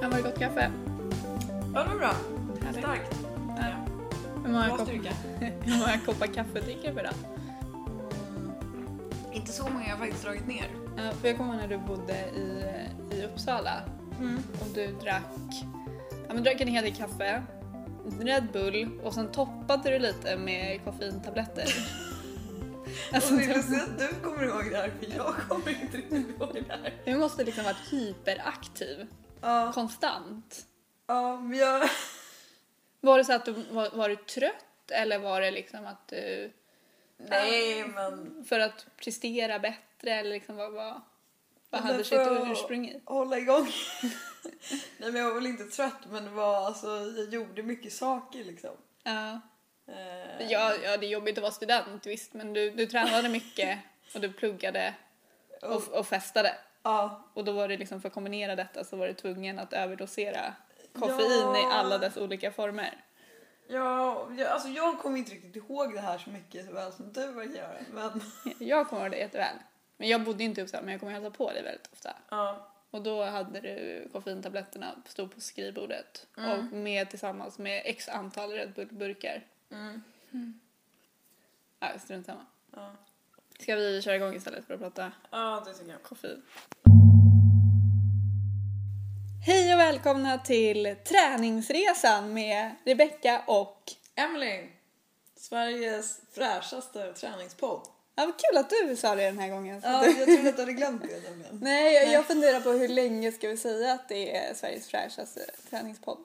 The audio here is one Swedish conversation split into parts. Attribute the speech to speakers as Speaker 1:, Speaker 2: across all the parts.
Speaker 1: Sen var det gott kaffe.
Speaker 2: Ja, det var bra.
Speaker 1: Härligt.
Speaker 2: Starkt.
Speaker 1: Ja. Hur många,
Speaker 2: Bra
Speaker 1: kopp,
Speaker 2: styrka.
Speaker 1: hur många koppar kaffe dricker vi då?
Speaker 2: Inte så många jag har faktiskt dragit ner.
Speaker 1: Ja, Eh, för jag kommer ihåg när du bodde i, i Uppsala
Speaker 2: Mm.
Speaker 1: och du drack, ja, men drack en hel del kaffe, Red Bull och sen toppade du lite med koffeintabletter. alltså,
Speaker 2: Och det är
Speaker 1: du,
Speaker 2: lustigt att du kommer ihåg det här för jag kommer inte riktigt ihåg det här.
Speaker 1: du måste liksom ha varit hyperaktiv,
Speaker 2: Ja,
Speaker 1: konstant.
Speaker 2: ja men jag...
Speaker 1: Var det så att du var, var du trött eller var det liksom att du,
Speaker 2: Nej men...
Speaker 1: för att prestera bättre eller liksom vad, vad, vad
Speaker 2: Men
Speaker 1: hade
Speaker 2: för
Speaker 1: sitt
Speaker 2: att-
Speaker 1: ursprung i?
Speaker 2: Hålla igång. Nej men jag var väl inte trött men det var alltså jag gjorde mycket saker liksom.
Speaker 1: Ja.
Speaker 2: Eh,
Speaker 1: Ja, ja, det är jobbigt att vara student visst, men du, du tränade mycket och du pluggade
Speaker 2: Oh.
Speaker 1: och, och festade.
Speaker 2: Ja.
Speaker 1: Och då var det liksom för att kombinera detta så var du tvungen att överdosera koffein i
Speaker 2: Ja.
Speaker 1: alla dess olika former.
Speaker 2: Ja, jag, alltså jag kommer inte riktigt ihåg det här så mycket så väl som du verkar göra. Men,
Speaker 1: Jag kommer ihåg det jätteväl. Men jag bodde ju inte i Uppsala, men jag kommer hälsa på dig väldigt ofta.
Speaker 2: ja.
Speaker 1: Och då hade du koffeintabletterna stod på skrivbordet och med tillsammans med x antal Red Bull-burkar.
Speaker 2: Mm.
Speaker 1: Ja, strunt samma.
Speaker 2: ja.
Speaker 1: Ska vi köra igång istället för att prata
Speaker 2: Ja, det tycker jag.
Speaker 1: koffein. Hej och välkomna till träningsresan med Rebecka och...
Speaker 2: Emily, Sveriges fräschaste träningspodd.
Speaker 1: Ja, vad kul att du sa det den här gången.
Speaker 2: Ja, jag trodde att du hade glömt det nämligen.
Speaker 1: Nej, jag, jag funderar på hur länge ska vi säga att det är Sveriges fräschaste träningspodd?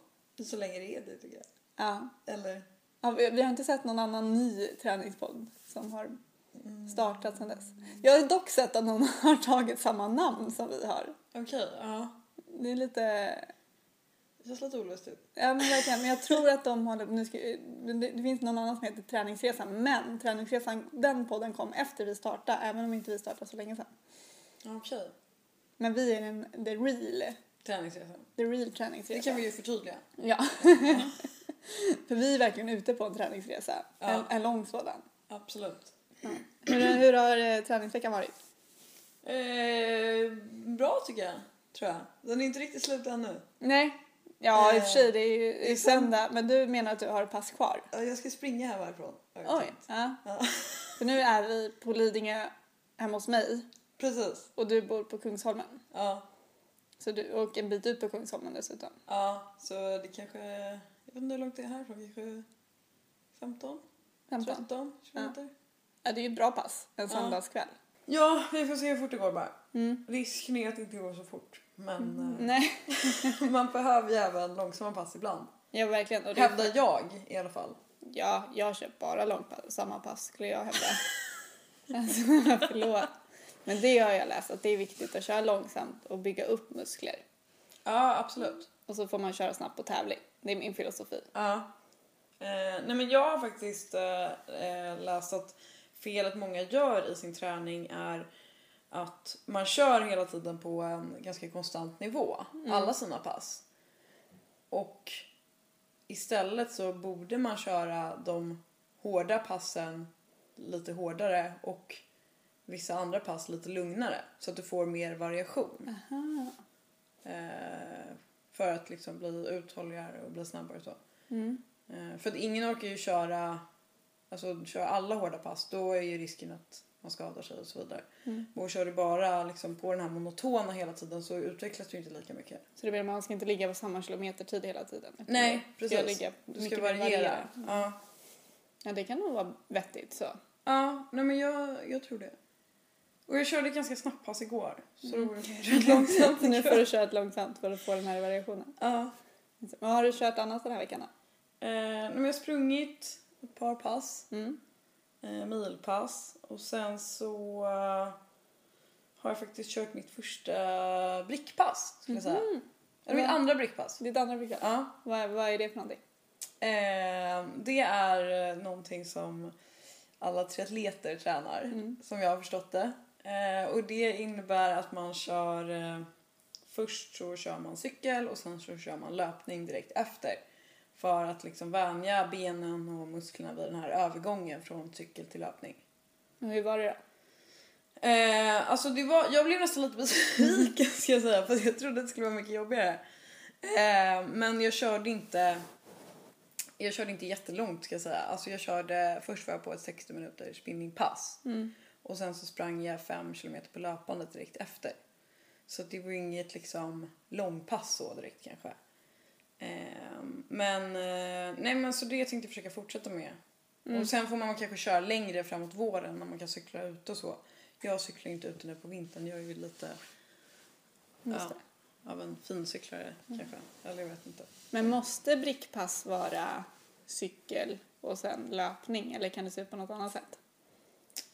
Speaker 2: Så länge det är det tycker jag.
Speaker 1: Ja.
Speaker 2: Eller?
Speaker 1: ja vi, vi har inte sett någon annan ny träningspodd som har
Speaker 2: mm.
Speaker 1: startat sedan dess. Jag har dock sett att någon har tagit samma namn som vi har.
Speaker 2: Okej, ja.
Speaker 1: Det är lite
Speaker 2: Det känns lite olustigt.
Speaker 1: Ja men verkligen, men jag tror att de håller, nu ska, det, det finns någon annan som heter Träningsresan, men Träningsresan, den podden kom efter vi startade, även om inte vi startade så länge sedan.
Speaker 2: Okej.
Speaker 1: Men vi är den, the real,
Speaker 2: Träningsresan.
Speaker 1: the real
Speaker 2: Det
Speaker 1: träningsresa.
Speaker 2: kan vi ju förtydliga.
Speaker 1: Ja. För vi är verkligen ute på en träningsresa,
Speaker 2: Ja.
Speaker 1: en, en lång sådan.
Speaker 2: Absolut.
Speaker 1: Hur, hur har eh, träningsveckan varit?
Speaker 2: Eh, bra tycker jag, tror jag. Den är inte riktigt slut ännu.
Speaker 1: Nej, ja i och för
Speaker 2: Eh,
Speaker 1: sig det är ju det är
Speaker 2: är sant.
Speaker 1: söndag, men du menar att du har pass kvar?
Speaker 2: Ja, Jag ska springa här varifrån. har jag
Speaker 1: Oj,
Speaker 2: tänkt.
Speaker 1: ja.
Speaker 2: Ja.
Speaker 1: För nu är vi på Lidingö hemma hos mig
Speaker 2: Precis.
Speaker 1: och du bor på Kungsholmen.
Speaker 2: Ja.
Speaker 1: Så du, och en bit ut på Kungsholmen dessutom.
Speaker 2: Ja, så det kanske... Jag vet inte hur långt det är härifrån. Kanske 15?
Speaker 1: 15.
Speaker 2: 13 kilometer?
Speaker 1: Ja, det är ju ett bra pass en
Speaker 2: Ja.
Speaker 1: söndagskväll.
Speaker 2: Ja, vi får se hur fort det går bara.
Speaker 1: Mm.
Speaker 2: Risken är att det inte går så fort. Men
Speaker 1: Nej,
Speaker 2: eh, man behöver ju även långsamma pass ibland.
Speaker 1: jag verkligen. Och det,
Speaker 2: Hävdar jag i alla fall.
Speaker 1: ja, jag kör bara långpass, samma pass skulle jag hävda. alltså, förlåt. Men det har jag läst att det är viktigt att köra långsamt och bygga upp muskler.
Speaker 2: Ja, absolut.
Speaker 1: Och så får man köra snabbt på tävling. Det är min filosofi.
Speaker 2: Ja. Eh, nej men jag har faktiskt eh, eh, läst att felet många gör i sin träning är att man kör hela tiden på en ganska konstant nivå, alla sina pass. Och istället så borde man köra de hårda passen lite hårdare och vissa andra pass lite lugnare så att du får mer variation.
Speaker 1: Aha.
Speaker 2: Eh, för att liksom bli uthålligare och bli snabbare och så.
Speaker 1: Mm.
Speaker 2: Eh, För att ingen orkar ju köra, alltså, köra alla hårda pass. Då är ju risken att man skadar sig och så vidare.
Speaker 1: Mm.
Speaker 2: Och kör du bara liksom, på den här monotona hela tiden så utvecklas du inte lika mycket.
Speaker 1: Så det menar man ska inte ligga på samma kilometertid hela tiden.
Speaker 2: Nej,
Speaker 1: Du ska
Speaker 2: precis.
Speaker 1: ligga
Speaker 2: Du ska
Speaker 1: mycket mer
Speaker 2: variera.
Speaker 1: varierad.
Speaker 2: Ja,
Speaker 1: Ja, det kan nog vara vettigt så.
Speaker 2: ja nej, men jag, jag tror det. Och jag körde ganska snabbt pass igår. Så då
Speaker 1: Mm.
Speaker 2: var det kanske ett långsamt
Speaker 1: nu får du köra ett långsamt för att få den här variationen.
Speaker 2: Ja.
Speaker 1: Vad har du kört annars den här veckan då?
Speaker 2: Eh, nej, men jag har sprungit ett par pass.
Speaker 1: Mm.
Speaker 2: eh, milpass och sen så eh, har jag faktiskt kört mitt första brickpass skulle jag
Speaker 1: Mhm.
Speaker 2: säga. Eller mitt
Speaker 1: Ja.
Speaker 2: andra brickpass.
Speaker 1: Mm. Ditt andra brygga?
Speaker 2: Ja.
Speaker 1: Vad, vad är det för någonting?
Speaker 2: Eh, det är eh, någonting som alla triatleter tränar
Speaker 1: Mm.
Speaker 2: som jag har förstått det. Eh, och det innebär att man kör eh, först så kör man cykel och sen så kör man löpning direkt efter. För att liksom vänja benen och musklerna vid den här övergången från cykel till löpning.
Speaker 1: Och Hur var det då?
Speaker 2: Eh, alltså det var, jag blev nästan lite besviken ska jag säga för jag trodde att det skulle vara mycket jobbigare. Eh, men jag körde inte jag körde inte jättelångt ska jag säga. Alltså jag körde, först var jag på ett 60 minuters spinningpass.
Speaker 1: Mm.
Speaker 2: Och sen så sprang jag 5 kilometer på löpande direkt efter. Så det var ju inget liksom långpass så direkt kanske. Ehm, men eh, nej men så det tänkte jag försöka fortsätta med.
Speaker 1: Mm.
Speaker 2: Och sen får man kanske köra längre framåt våren när man kan cykla ut och så. Jag cyklar ju inte ute nu på vintern, jag är ju lite
Speaker 1: Just Mm.
Speaker 2: ja, av en fincyklare kanske. Eller jag vet inte.
Speaker 1: Men måste brickpass vara cykel och sen löpning eller kan det se ut på något annat sätt?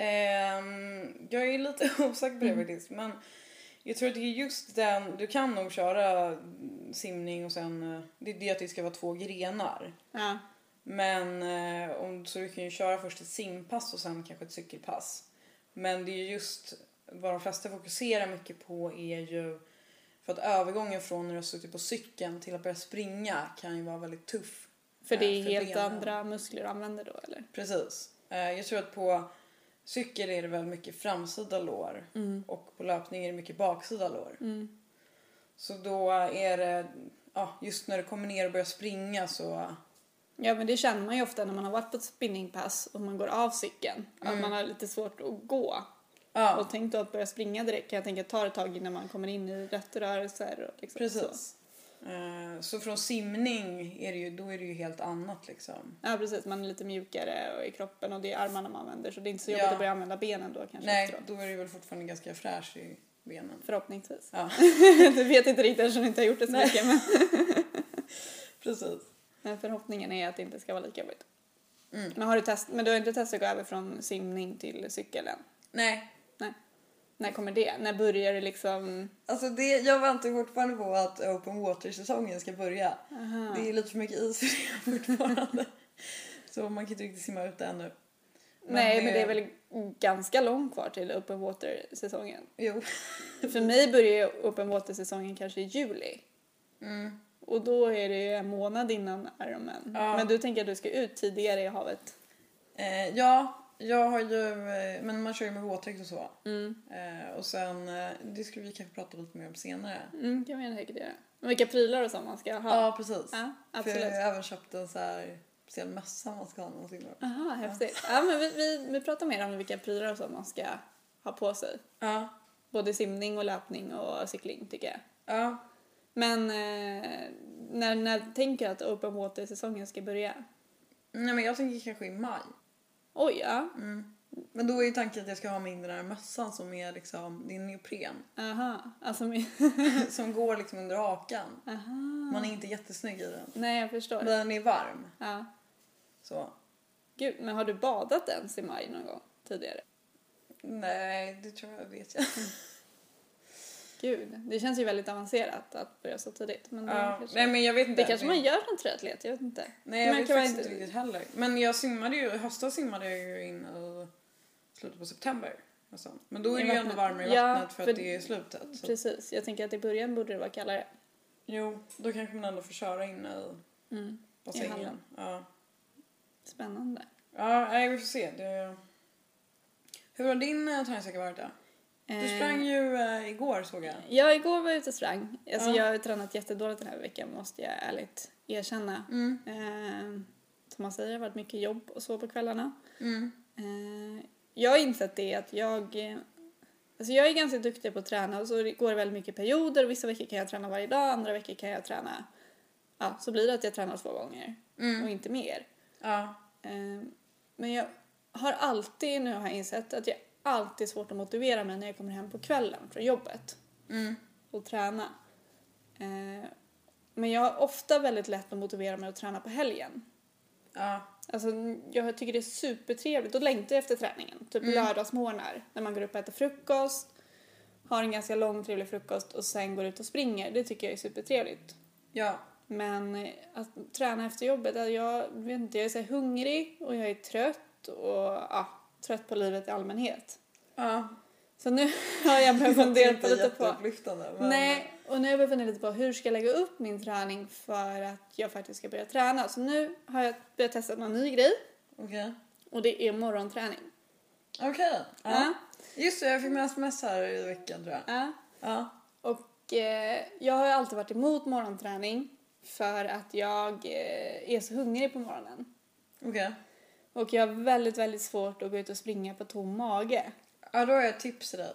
Speaker 2: Ehm, jag är lite osäker på det faktiskt. Men jag tror att det är just den, du kan nog köra simning och sen, eh, det är det att det ska vara två grenar.
Speaker 1: Ja.
Speaker 2: Men eh, om, så du kan ju köra först ett simpass och sen kanske ett cykelpass. Men det är ju just vad de flesta fokuserar mycket på är ju för att övergången från när du har suttit på cykeln till att börja springa kan ju vara väldigt tuff.
Speaker 1: För det är
Speaker 2: Ja, för
Speaker 1: helt
Speaker 2: benen.
Speaker 1: andra muskler du använder då eller?
Speaker 2: Precis. Eh, Jag tror att på cykel är det väl mycket framsida lår och på löpning är det mycket baksida lår.
Speaker 1: Mm.
Speaker 2: Så då är det, ja, just när du kommer ner och börjar springa så,
Speaker 1: Ja men det känner man ju ofta när man har varit på ett spinningpass och man går av cykeln.
Speaker 2: Mm.
Speaker 1: Att man har lite svårt att gå.
Speaker 2: ja
Speaker 1: Och tänk då att börja springa direkt kan jag tänka tar ett tag innan man kommer in i rätt rörelser och liksom Så.
Speaker 2: precis. Eh, Så från simning är det ju, då är det ju helt annat liksom.
Speaker 1: Ja precis, man är lite mjukare och i kroppen och det är armarna man använder så det är inte så
Speaker 2: Ja.
Speaker 1: jobbigt att börja använda benen då kanske
Speaker 2: Nej,
Speaker 1: efteråt.
Speaker 2: då är det väl fortfarande ganska fräsch i benen.
Speaker 1: Förhoppningsvis.
Speaker 2: Ja,
Speaker 1: du vet inte riktigt eftersom du inte har gjort det så
Speaker 2: Nej.
Speaker 1: mycket men,
Speaker 2: precis.
Speaker 1: men förhoppningen är att det inte ska vara lika jobbigt.
Speaker 2: Mm.
Speaker 1: Men, har du test, men du har inte testat att gå över från simning till cykel än?
Speaker 2: Nej,
Speaker 1: När kommer det? När börjar det liksom?
Speaker 2: Alltså det, jag väntar fortfarande på att open water-säsongen ska börja.
Speaker 1: Aha.
Speaker 2: Det är lite för mycket is för det fortfarande. Så man kan inte riktigt simma ut ännu. Men
Speaker 1: Nej
Speaker 2: det-
Speaker 1: men det är väl ganska långt kvar till open water-säsongen.
Speaker 2: Jo.
Speaker 1: För mig börjar ju open water-säsongen kanske i juli.
Speaker 2: Mm.
Speaker 1: Och då är det ju en månad innan Ironman.
Speaker 2: Ja.
Speaker 1: Men du tänker att du ska ut tidigare i havet?
Speaker 2: Eh, ja, jag har ju... eh, Men man kör ju med våtdräkt och så.
Speaker 1: Mm.
Speaker 2: Eh, och sen, eh, det skulle vi kanske prata lite mer om senare.
Speaker 1: Mm, kan man säkert göra. Men vilka prylar och så man ska ha?
Speaker 2: Ja, precis.
Speaker 1: Ja,
Speaker 2: för
Speaker 1: absolut.
Speaker 2: jag har även köpt en så här speciell mössa man ska ha när man simmar.
Speaker 1: Aha, häftigt. Ja, men vi, vi, vi pratar mer om vilka prylar och så man ska ha på sig.
Speaker 2: Ja,
Speaker 1: Både simning och löpning och cykling tycker jag.
Speaker 2: ja.
Speaker 1: Men eh, när, när tänker du att open water-säsongen ska börja?
Speaker 2: Nej men jag tänker kanske i maj.
Speaker 1: Oj, ja.
Speaker 2: Mm. Men då är ju tanken att jag ska ha min den här mössan som är liksom, det är neopren.
Speaker 1: Aha. Alltså, min-
Speaker 2: som går liksom under hakan.
Speaker 1: aha.
Speaker 2: Man är inte jättesnygg i den.
Speaker 1: Nej, jag förstår.
Speaker 2: Men den är varm.
Speaker 1: Ja.
Speaker 2: Så.
Speaker 1: Gud, men har du badat ens i maj någon gång tidigare?
Speaker 2: Nej, det tror jag vet jag.
Speaker 1: Gud, det känns ju väldigt avancerat att börja så tidigt. Men det,
Speaker 2: Ja,
Speaker 1: kanske,
Speaker 2: nej men jag vet inte.
Speaker 1: det kanske man gör som triatlet, jag vet inte.
Speaker 2: Nej jag
Speaker 1: man
Speaker 2: vet
Speaker 1: kan
Speaker 2: faktiskt
Speaker 1: vara
Speaker 2: inte
Speaker 1: inte-
Speaker 2: riktigt heller. Men jag simmade ju, i höstas simmade jag ju in i slutet på september. Nästan. Men då är
Speaker 1: I
Speaker 2: det ju ändå
Speaker 1: vattnet.
Speaker 2: varmare i
Speaker 1: Ja,
Speaker 2: vattnet för,
Speaker 1: för-
Speaker 2: att det är slutet. Så.
Speaker 1: Precis, jag tänker att i början borde det vara kallare.
Speaker 2: Jo, då kanske man ändå får köra in i
Speaker 1: Mm.
Speaker 2: bassängen.
Speaker 1: hallen.
Speaker 2: Ja.
Speaker 1: Spännande.
Speaker 2: ja, nej vi får se. Det... Hur har din eh, träningsvecka varit då? Du sprang ju eh, igår såg jag.
Speaker 1: Ja, igår var jag ute och sprang. Alltså,
Speaker 2: Ja.
Speaker 1: Jag har tränat jättedåligt den här veckan måste jag ärligt erkänna.
Speaker 2: Mm,
Speaker 1: Eh, som man säger, det har varit mycket jobb och så på kvällarna.
Speaker 2: mm,
Speaker 1: Eh, jag har insett det att jag... eh, Alltså jag är ganska duktig på att träna och så går det väldigt mycket perioder. Vissa veckor kan jag träna varje dag, andra veckor kan jag träna... Ja, så blir det att jag tränar två gånger
Speaker 2: mm.
Speaker 1: och inte mer.
Speaker 2: Ja.
Speaker 1: Eh, men jag har alltid, nu har jag insett, att jag alltid är svårt att motivera mig när jag kommer hem på kvällen från jobbet
Speaker 2: Mm.
Speaker 1: och träna. Eh, men jag har ofta väldigt lätt att motivera mig att träna på helgen.
Speaker 2: Ja.
Speaker 1: Alltså, jag tycker det är supertrevligt. Då längtar jag efter träningen. Typ
Speaker 2: Mm.
Speaker 1: lördagsmorgnar när man går upp och äter frukost. Har en ganska lång trevlig frukost och sen går ut och springer. Det tycker jag är supertrevligt.
Speaker 2: Ja.
Speaker 1: Men eh, att träna efter jobbet, eh, jag vet inte, jag är så här hungrig och jag är trött och ja, trött på livet i allmänhet.
Speaker 2: Ja.
Speaker 1: Så nu har jag börjat fundera på lite på...
Speaker 2: Jätteupplyftande. Men...
Speaker 1: Nej, och nu har jag börjat fundera lite på hur ska jag lägga upp min träning för att jag faktiskt ska börja träna. Så nu har jag börjat testa någon ny grej.
Speaker 2: Okej.
Speaker 1: Och det är morgonträning.
Speaker 2: Okej. Ja. Just det, jag fick med sms här i veckan tror jag.
Speaker 1: Ja.
Speaker 2: Ja.
Speaker 1: Och Och eh, jag har ju alltid varit emot morgonträning för att jag eh, är så hungrig på morgonen.
Speaker 2: Okej.
Speaker 1: Och jag har väldigt, väldigt svårt att gå ut och springa på tom mage.
Speaker 2: Ja, då har jag ett tips till dig.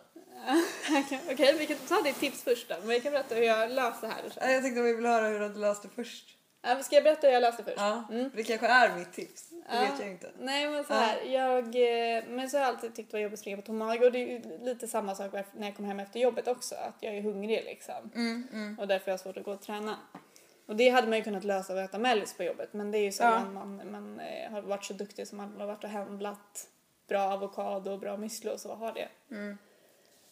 Speaker 1: Okej, vi kan ta ditt tips först då. Men jag kan berätta hur jag löste det här.
Speaker 2: Ja, Jag tänkte att vi vill höra hur du löste först.
Speaker 1: Ja, men Ska jag berätta hur jag löste först?
Speaker 2: Ja,
Speaker 1: Mm.
Speaker 2: det kanske är mitt tips. Det
Speaker 1: Ja.
Speaker 2: vet jag inte.
Speaker 1: Nej men så här, jag, eh, men så har jag alltid tyckt det var jobbigt att springa på tom mage och det är ju lite samma sak när jag kommer hem efter jobbet också, att jag är hungrig liksom
Speaker 2: Mm, mm.
Speaker 1: och därför har jag svårt att gå och träna. Och det hade man ju kunnat lösa av att äta mellis på jobbet men det är ju sällan
Speaker 2: Ja.
Speaker 1: man, man eh, har varit så duktig som man har varit och handlat bra avokado och bra müsli och så har det.
Speaker 2: Mm.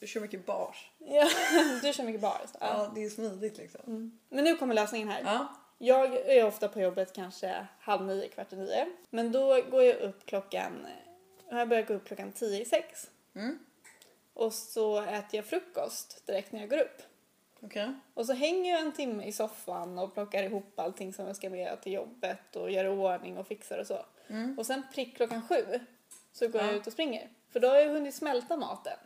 Speaker 2: Du kör mycket bars.
Speaker 1: Ja, du kör mycket bar. Så. Ja.
Speaker 2: Ja, det är smidigt liksom.
Speaker 1: Mm. Men nu kommer lösningen här.
Speaker 2: Ja.
Speaker 1: Jag är ofta på jobbet kanske halv nio, kvart i nio. Men då går jag upp klockan... Jag börjar gå upp klockan tio i sex.
Speaker 2: Mm.
Speaker 1: Och så äter jag frukost direkt när jag går upp.
Speaker 2: Okej.
Speaker 1: Och så hänger jag en timme i soffan och plockar ihop allting som jag ska med till jobbet och gör i ordning och fixar och så.
Speaker 2: Mm.
Speaker 1: Och sen prick klockan sju så går jag
Speaker 2: Ja.
Speaker 1: ut och springer. För då har jag hunnit smälta maten.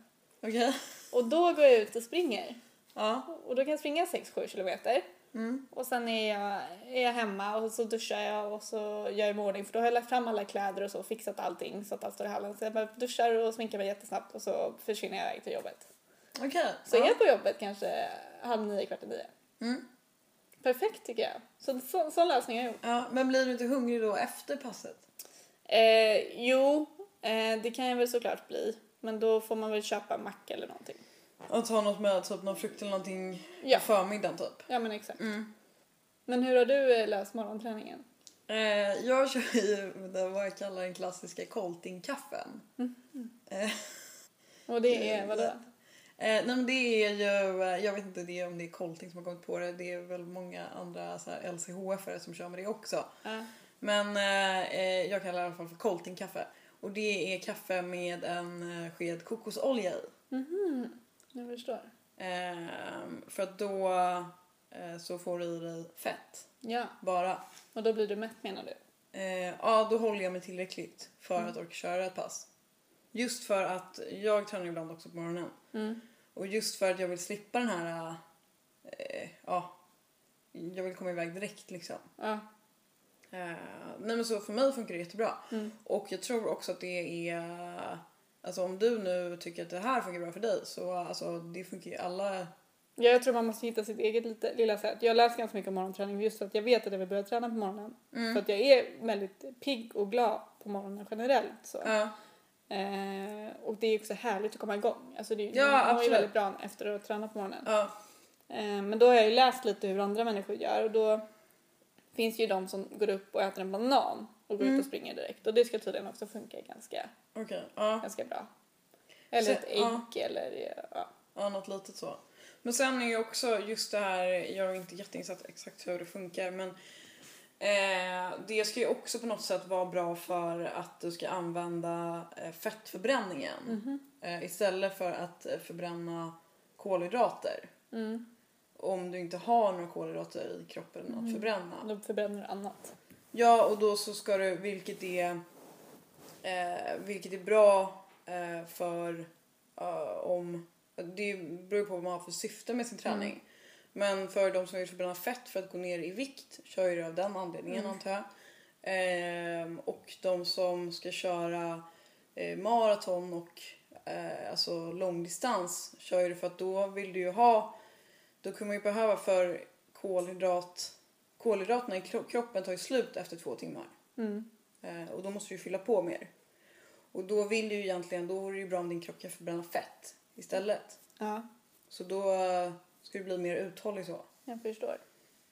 Speaker 2: Okej.
Speaker 1: Och då går jag ut och springer.
Speaker 2: Ja.
Speaker 1: Och då kan jag springa 6-7 kilometer.
Speaker 2: Mm.
Speaker 1: Och sen är jag, är jag hemma och så duschar jag och så gör jag mig i ordning för då har jag lagt fram alla kläder och så fixat allting så att allt står i hallen. Så jag bara duschar och sminkar mig jättesnabbt och så försvinner jag iväg till jobbet.
Speaker 2: Okej.
Speaker 1: Så
Speaker 2: ja.
Speaker 1: är jag på jobbet kanske halv nio, kvart i nio.
Speaker 2: Mm.
Speaker 1: Perfekt tycker jag. Så så, sån lösning har jag gjort.
Speaker 2: Ja, men blir du inte hungrig då efter passet?
Speaker 1: Eh, jo, eh, det kan jag väl såklart bli. Men då får man väl köpa en macka eller någonting.
Speaker 2: Och ta något med typ någon frukt eller någonting
Speaker 1: Ja,
Speaker 2: på förmiddagen typ.
Speaker 1: ja men exakt.
Speaker 2: Mm.
Speaker 1: Men hur har du eh, löst morgonträningen?
Speaker 2: Eh, jag kör ju det vad jag kallar den klassiska koltingkaffen.
Speaker 1: Mm. Och det är vadå?
Speaker 2: Eh, nej men det är ju, eh, jag vet inte det, om det är kolting som har kommit på det. Det är väl många andra så här LCHF-are som kör med det också.
Speaker 1: Ja.
Speaker 2: Men eh, eh, jag kallar det i alla fall för koltingkaffe. Och det är kaffe med en eh, sked kokosolja i.
Speaker 1: Mhm, jag förstår.
Speaker 2: Ehm, för att då eh, så får du i dig fett
Speaker 1: Ja.
Speaker 2: bara.
Speaker 1: Och då blir du mätt menar du?
Speaker 2: Eh, ja, då håller jag mig tillräckligt för
Speaker 1: Mm.
Speaker 2: att orka köra ett pass. Just för att jag tränar ibland också på morgonen.
Speaker 1: Mm.
Speaker 2: Och just för att jag vill slippa den här... Eh, ja, jag vill komma iväg direkt liksom.
Speaker 1: Ja.
Speaker 2: Eh, nej men så för mig funkar det jättebra.
Speaker 1: Mm.
Speaker 2: Och jag tror också att det är... Alltså om du nu tycker att det här funkar bra för dig så alltså det funkar ju alla...
Speaker 1: ja. Jag tror man måste hitta sitt eget lite, lilla sätt. Jag läser ganska mycket om morgonträning just för att jag vet att jag vill börja träna på morgonen. För
Speaker 2: Mm.
Speaker 1: att jag är väldigt pigg och glad på morgonen generellt. Så.
Speaker 2: Ja,
Speaker 1: Eh, och det är också härligt att komma igång. Alltså det,
Speaker 2: Ja,
Speaker 1: man mår ju
Speaker 2: absolut.
Speaker 1: väldigt bra efter att ha tränat på morgonen.
Speaker 2: ja,
Speaker 1: Eh, men då har jag ju läst lite hur andra människor gör och då finns ju de som går upp och äter en banan och går ut
Speaker 2: Mm.
Speaker 1: och springer direkt. Och det ska tydligen också funka ganska,
Speaker 2: okej. Ja.
Speaker 1: ganska bra. Eller
Speaker 2: Så-
Speaker 1: ett
Speaker 2: ja.
Speaker 1: ägg eller ja.
Speaker 2: Ja, något litet så. Men sen är ju också just det här, jag är inte jätteinsatt exakt hur det funkar men eh, det ska ju också på något sätt vara bra för att du ska använda eh, fettförbränningen
Speaker 1: Mhm.
Speaker 2: eh, istället för att eh, förbränna kolhydrater.
Speaker 1: Mm.
Speaker 2: Om du inte har några kolhydrater i kroppen att
Speaker 1: Mm.
Speaker 2: förbränna.
Speaker 1: Då förbränner du annat.
Speaker 2: Ja, och då så ska du, vilket är, eh, vilket är bra eh, för eh, om, det beror på vad man har för syfte med sin träning. Men för de som vill förbränna fett för att gå ner i vikt kör ju det av den anledningen
Speaker 1: Mm.
Speaker 2: antar jag. Ehm, och de som ska köra eh, maraton och eh, alltså långdistans kör ju det för att då vill du ju ha, då kommer man ju behöva för kolhydrat, kolhydraterna i kro- kroppen tar ju slut efter två timmar.
Speaker 1: Mm.
Speaker 2: Eh, och då måste du ju fylla på mer. Och då vill du ju egentligen, då vore det ju bra om din kropp kan förbränna fett istället.
Speaker 1: Ja,
Speaker 2: Så då eh, ska du bli mer uthållig så.
Speaker 1: jag förstår.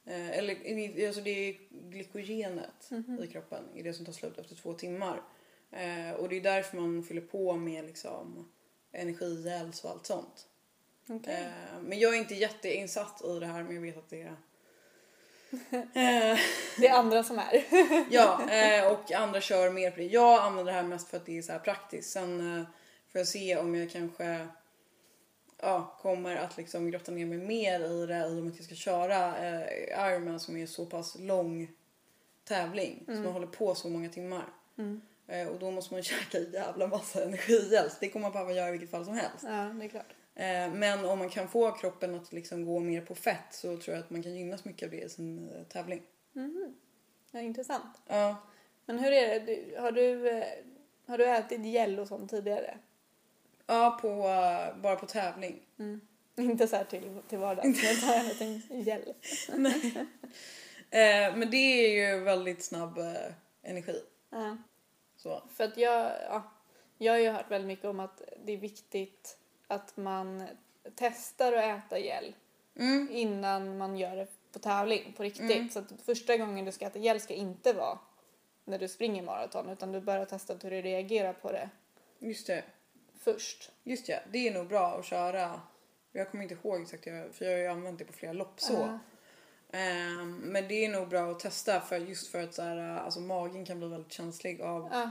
Speaker 2: Eh, Eller, alltså det är glykogenet
Speaker 1: Mhm.
Speaker 2: i kroppen är det som tar slut efter två timmar. Eh, och det är därför man fyller på med liksom, energigels och allt sånt.
Speaker 1: Okej.
Speaker 2: Eh, men jag är inte jätteinsatt i det här men jag vet att det är... Eh,
Speaker 1: Det är andra som är.
Speaker 2: ja, eh, och andra kör mer på det. Jag använder det här mest för att det är så här praktiskt. Sen eh, får jag se om jag kanske ja, kommer att liksom grotta ner mig mer i det i och med att jag ska köra eh, Ironman som är så pass lång tävling.
Speaker 1: Mm.
Speaker 2: Som man håller på så många timmar.
Speaker 1: Mm.
Speaker 2: Alltså, Eh, och då måste man käka en jävla massa energihjälp. Det kommer man behöva göra i vilket fall som helst.
Speaker 1: Ja, det är klart.
Speaker 2: Eh, Men om man kan få kroppen att liksom gå mer på fett så tror jag att man kan gynnas mycket av det i sin eh, tävling.
Speaker 1: Mm-hmm. Ja, intressant.
Speaker 2: Ja.
Speaker 1: Men hur är det, du, har, du, eh, har du ätit gel och sånt tidigare?
Speaker 2: Ja, på, eh, bara på tävling.
Speaker 1: Inte så här till, till vardags, men tar en liten gel.
Speaker 2: Eh, Men det är ju väldigt snabb eh, energi.
Speaker 1: Ja.
Speaker 2: Så.
Speaker 1: För att jag, ja, jag har ju hört väldigt mycket om att det är viktigt att man testar att äta gel
Speaker 2: Mm.
Speaker 1: innan man gör det på tävling på riktigt.
Speaker 2: Mm.
Speaker 1: Så att första gången du ska äta gel ska inte vara när du springer maraton utan du bör ha testat hur du reagerar på det
Speaker 2: Just det.
Speaker 1: först.
Speaker 2: Just ja, det är nog bra att köra. Jag kommer inte ihåg exakt, jag- för jag har ju använt det på flera lopp så.
Speaker 1: Ja.
Speaker 2: Ehm, men det är nog bra att testa för just för att så här, alltså, magen kan bli väldigt känslig av
Speaker 1: Ja,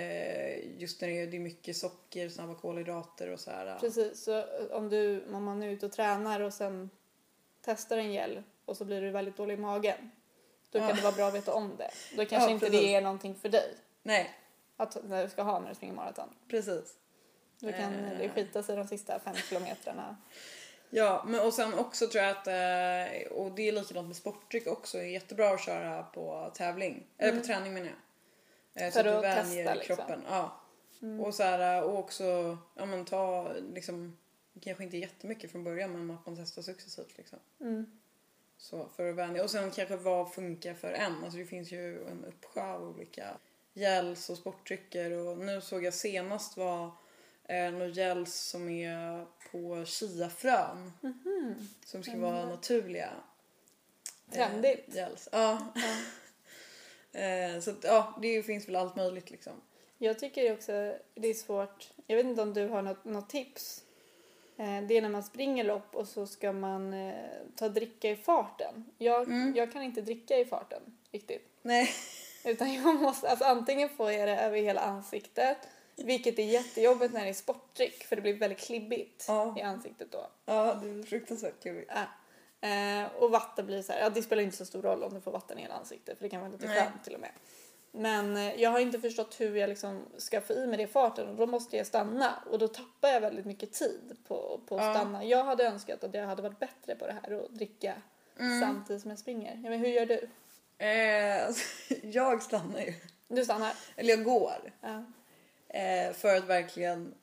Speaker 2: eh, just när det är, det är mycket socker, snabba kolhydrater och så här.
Speaker 1: precis. Så eh, om, du, om man är ute och tränar och sen testar en gel och så blir du väldigt dålig i magen då
Speaker 2: Ja.
Speaker 1: kan det vara bra att veta om det. Då kanske
Speaker 2: Ja,
Speaker 1: inte
Speaker 2: precis.
Speaker 1: det är någonting för dig
Speaker 2: Nej,
Speaker 1: att, när du ska ha när du springer maraton.
Speaker 2: precis.
Speaker 1: Då kan
Speaker 2: Eh.
Speaker 1: det skita sig de sista fem kilometrarna.
Speaker 2: Ja, men och sen också tror jag att, eh, och det är likadant med sportdryck också, är jättebra att köra på tävling. Eller på träning menar jag. Eh, så
Speaker 1: Mm. För
Speaker 2: att du
Speaker 1: att
Speaker 2: vänjer
Speaker 1: testa, liksom. Mm.
Speaker 2: kroppen. Ja. Och, så här, och också, ja men ta liksom, kanske inte jättemycket från början men att man testar successivt liksom.
Speaker 1: Mm.
Speaker 2: Så för att vänja. Och sen kanske vad funkar för en. Alltså det finns ju en uppsjö av olika gels och sportdrycker och nu såg jag senast var eh, någon gels som är på chiafrön.
Speaker 1: Mhm.
Speaker 2: Som ska vara naturliga. eh,
Speaker 1: Trendigt.
Speaker 2: gels. Ja. Eh, så att, ja, det finns väl allt möjligt liksom.
Speaker 1: Jag tycker också det är svårt. Jag vet inte om du har något, något tips. Eh, Det är när man springer lopp och så ska man eh, ta dricka i farten. Jag, jag kan inte dricka i farten riktigt.
Speaker 2: Mm. Nej.
Speaker 1: Utan jag måste, alltså antingen får jag det över hela ansiktet, vilket är jättejobbigt när det är sportdryck för det blir väldigt klibbigt
Speaker 2: Ja.
Speaker 1: i ansiktet då.
Speaker 2: Ja, det är fruktansvärt kul.
Speaker 1: Ja. Eh, och vatten blir så här, ja, det spelar inte så stor roll om du får vatten i hela ansiktet för det kan vara lite
Speaker 2: Nej.
Speaker 1: skönt till och med. Men eh, jag har inte förstått hur jag liksom ska få i mig det i farten och då måste jag stanna och då tappar jag väldigt mycket tid på, på att
Speaker 2: Ja.
Speaker 1: stanna. Jag hade önskat att jag hade varit bättre på det här och dricka
Speaker 2: Mm.
Speaker 1: samtidigt som jag springer. Ja, men hur gör du?
Speaker 2: Eh, alltså, jag stannar ju.
Speaker 1: Du stannar?
Speaker 2: Eller jag går.
Speaker 1: Ja.
Speaker 2: Eh, för att verkligen...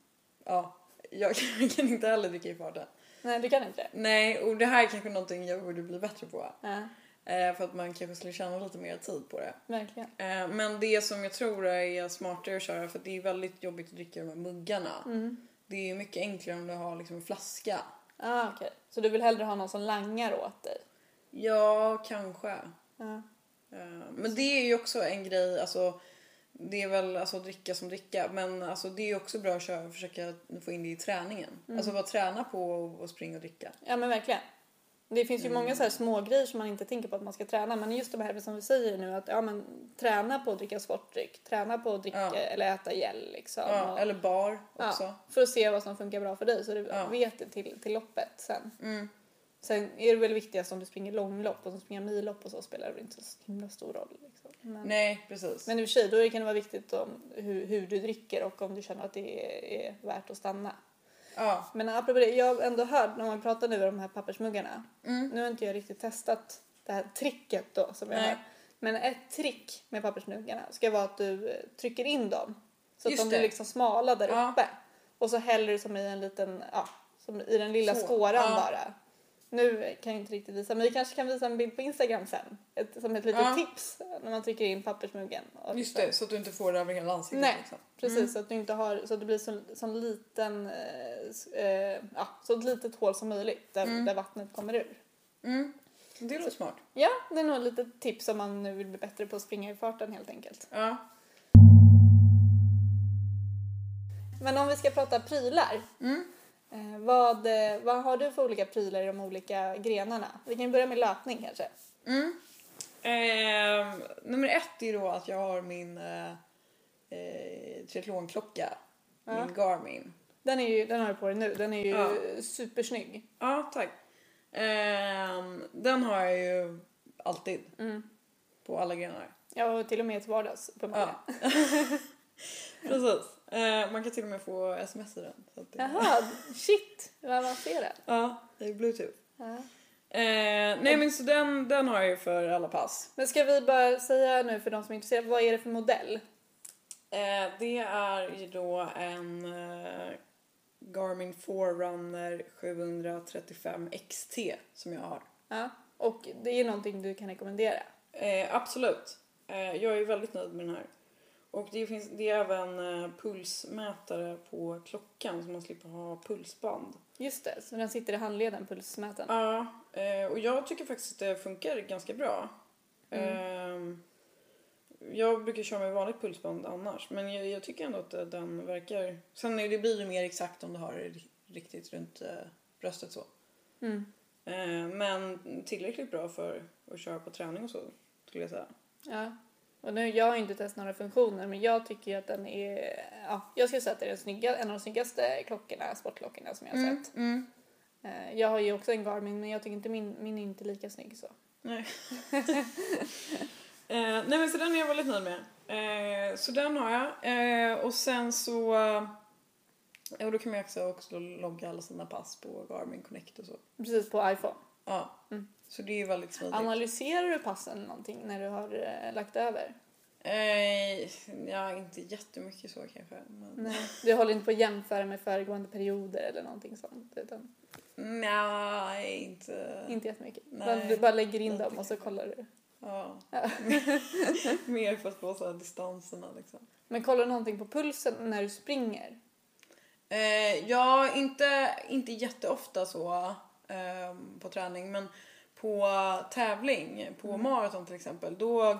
Speaker 2: Ja, jag kan, jag kan inte heller dricka i farten.
Speaker 1: Nej, du kan inte det?
Speaker 2: Nej, och det här är kanske någonting jag borde bli bättre på.
Speaker 1: Ja,
Speaker 2: Eh, för att man kanske skulle tjäna lite mer tid på det.
Speaker 1: verkligen.
Speaker 2: Eh, men det som jag tror är smartare att köra för att det är väldigt jobbigt att dricka de här muggarna.
Speaker 1: Mm.
Speaker 2: Det är ju mycket enklare om du har liksom en flaska.
Speaker 1: Ah, okej. Så du vill hellre ha någon som langar åt dig?
Speaker 2: Ja, kanske.
Speaker 1: Ja.
Speaker 2: Eh, Men det är ju också en grej, alltså det är väl alltså dricka som dricka men alltså det är ju också bra att köra, försöka få in det i träningen. Alltså bara träna på och, och springa och dricka.
Speaker 1: Ja men verkligen. Det finns ju
Speaker 2: Mm.
Speaker 1: många så här små grejer som man inte tänker på att man ska träna men just de här som vi säger nu att ja men träna på att dricka sportdryck, träna på att dricka
Speaker 2: Ja.
Speaker 1: eller äta gel liksom.
Speaker 2: Ja,
Speaker 1: och,
Speaker 2: eller bar
Speaker 1: ja,
Speaker 2: också.
Speaker 1: för att se vad som funkar bra för dig så du
Speaker 2: Ja.
Speaker 1: vet det till, till loppet sen.
Speaker 2: Mm.
Speaker 1: Sen är det väl viktigast om du springer långlopp och om du springer millopp och så spelar det väl inte så himla stor roll. Liksom. Men,
Speaker 2: Nej precis.
Speaker 1: men i och för sig då kan det vara viktigt om hur, hur du dricker och om du känner att det är, är värt att stanna.
Speaker 2: Ja.
Speaker 1: Men apropå det, jag har ändå hört när man pratar nu om de här pappersmuggarna.
Speaker 2: Mm.
Speaker 1: Nu har inte jag riktigt testat det här tricket då som jag
Speaker 2: Nej.
Speaker 1: har. Men ett trick med pappersmuggarna ska vara att du eh, trycker in dem. Så
Speaker 2: Just
Speaker 1: att de blir
Speaker 2: det.
Speaker 1: liksom smala där
Speaker 2: Ja.
Speaker 1: uppe. Och så häller du som i en liten, ja, som i den lilla
Speaker 2: Så,
Speaker 1: skåran
Speaker 2: ja.
Speaker 1: bara. Nu kan jag inte riktigt visa, men vi kanske kan visa en bild på Instagram sen. Ett, som ett litet
Speaker 2: Ja.
Speaker 1: tips när man trycker in pappersmuggen. Och
Speaker 2: Just
Speaker 1: liksom-
Speaker 2: det, så att du inte får det över hela ansiktet.
Speaker 1: Nej,
Speaker 2: liksom.
Speaker 1: precis. Så att du inte har, så att det blir så, så liten, eh, s- eh, ja, så ett litet hål som möjligt där, där vattnet kommer ur.
Speaker 2: Mm. Det låter smart.
Speaker 1: Ja, det är nog ett litet tips om man nu vill bli bättre på att springa i farten helt enkelt.
Speaker 2: Ja.
Speaker 1: Men om vi ska prata prylar.
Speaker 2: Mm.
Speaker 1: Eh, vad, eh, vad har du för olika prylar i de olika grenarna? Vi kan ju börja med löpning kanske.
Speaker 2: Mm. Ehm, nummer ett är då att jag har min eh, eh, triathlonklocka.
Speaker 1: Ja.
Speaker 2: Min Garmin.
Speaker 1: Mm. Den, är ju, den har du på dig nu, den är ju
Speaker 2: Ja.
Speaker 1: supersnygg.
Speaker 2: Ja, tack. Ehm, den har jag ju alltid.
Speaker 1: Mm.
Speaker 2: På alla grenar.
Speaker 1: Ja, och till och med till vardags på
Speaker 2: Ja. Precis. Eh, man kan till och med få sms i den. Så att det,
Speaker 1: Jaha, shit vad avancerat.
Speaker 2: Ja, det är bluetooth.
Speaker 1: Ja.
Speaker 2: Eh, nej men så den, den har jag ju för alla pass.
Speaker 1: Men ska vi bara säga nu för de som är intresserade, vad är det för modell?
Speaker 2: Eh, det är ju då en eh, Garmin Forerunner 735 XT som jag har.
Speaker 1: Ja. Och det är någonting du kan rekommendera.
Speaker 2: Eh, absolut. Eh, jag är väldigt nöjd med den här. Och det, finns, det är även eh, pulsmätare på klockan så man slipper ha pulsband.
Speaker 1: Just det, så den sitter i handleden, pulsmätaren.
Speaker 2: Ja, eh, och jag tycker faktiskt att det funkar ganska bra.
Speaker 1: Mm.
Speaker 2: Ehm, jag brukar köra med vanligt pulsband annars, men jag, jag tycker ändå att eh, den verkar... Sen är det blir det mer exakt om du har det ri- riktigt runt eh, bröstet så.
Speaker 1: Mm.
Speaker 2: Eh, men tillräckligt bra för att köra på träning och så, skulle jag säga.
Speaker 1: Ja. Och nu, jag har ju inte testat några funktioner men jag tycker ju att den är, ja, jag skulle säga att det är den snygga, en av de snyggaste klockorna, sportklockorna som jag har
Speaker 2: Mm.
Speaker 1: sett. Eh, Jag har ju också en Garmin men jag tycker inte min, min är inte lika snygg så.
Speaker 2: Nej. eh, nej men så den är jag väldigt nöjd med. Eh, så den har jag. Eh, och sen så... Eh, och då kan man ju också, också logga alla sina pass på Garmin Connect och så.
Speaker 1: Precis på iPhone.
Speaker 2: Ja.
Speaker 1: Mm.
Speaker 2: Så det är ju väldigt smidigt.
Speaker 1: Analyserar du passen någonting när du har eh, lagt över?
Speaker 2: eh, ja, inte jättemycket så kanske. Men... Nej.
Speaker 1: Nej. Du håller inte på att jämföra med föregående perioder eller någonting sånt? Utan
Speaker 2: inte...
Speaker 1: Inte jättemycket?
Speaker 2: Nej.
Speaker 1: Nej. Du bara lägger in
Speaker 2: Inte
Speaker 1: dem och så
Speaker 2: kanske.
Speaker 1: kollar du?
Speaker 2: Ja.
Speaker 1: Ja.
Speaker 2: Mer för att få så här distanserna liksom.
Speaker 1: Men kollar du någonting på pulsen när du springer?
Speaker 2: Eh, ja, inte, inte jätteofta så eh, på träning men på tävling, på
Speaker 1: Mm.
Speaker 2: maraton till exempel, då,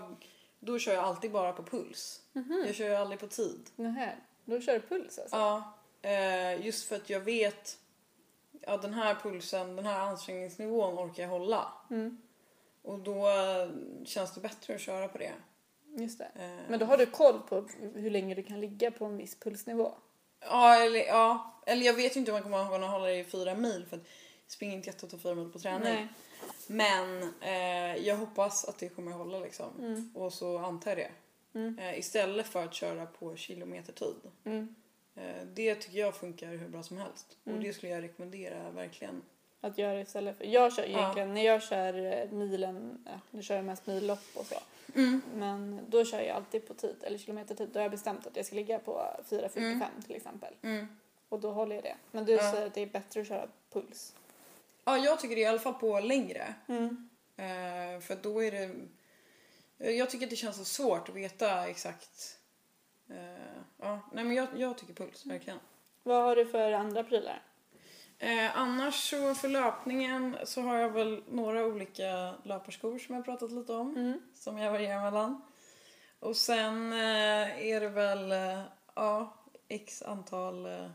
Speaker 2: då kör jag alltid bara på puls.
Speaker 1: Mm.
Speaker 2: Jag kör ju aldrig på tid.
Speaker 1: Nähä, då kör du puls alltså?
Speaker 2: Mm-hmm. Ja, eh, just för att jag vet att den här pulsen, den här ansträngningsnivån orkar jag hålla.
Speaker 1: Mm,
Speaker 2: Och då eh, känns det bättre att köra på det.
Speaker 1: just det.
Speaker 2: Eh,
Speaker 1: Men då har du koll på hur länge du kan ligga på en viss pulsnivå?
Speaker 2: Ja, eller, ja. eller jag vet ju inte om man kommer kunna hålla det i fyra mil för att jag springer inte jätteofta fyra mil på träning. Men eh, jag hoppas att det kommer att hålla liksom.
Speaker 1: Mm.
Speaker 2: Och så antar jag det.
Speaker 1: Mm.
Speaker 2: Eh, istället för att köra på kilometertid.
Speaker 1: Mm.
Speaker 2: Eh, det tycker jag funkar hur bra som helst.
Speaker 1: Mm.
Speaker 2: Och det skulle jag rekommendera verkligen.
Speaker 1: Att göra istället för... Jag kör
Speaker 2: Ja.
Speaker 1: egentligen, när jag kör eh, milen, ja, nu kör jag mest millopp och så. Mm. Men då kör jag alltid på tid, eller kilometertid. Då har jag bestämt att jag ska ligga på 4.45 till exempel.
Speaker 2: Mm.
Speaker 1: Och då håller jag det. Men du
Speaker 2: Ja.
Speaker 1: säger att det är bättre att köra puls.
Speaker 2: Ja, jag tycker det i alla fall på längre.
Speaker 1: Mm.
Speaker 2: Eh, för då är det... eh, Jag tycker att det känns så svårt att veta exakt. Eh, ja, nej men jag, jag tycker puls, verkligen.
Speaker 1: Vad har du för andra prylar?
Speaker 2: Eh, annars så för löpningen så har jag väl några olika löparskor som jag pratat lite om.
Speaker 1: Mm.
Speaker 2: som jag varierar mellan. Och sen eh, är det väl eh, ja, x antal eh,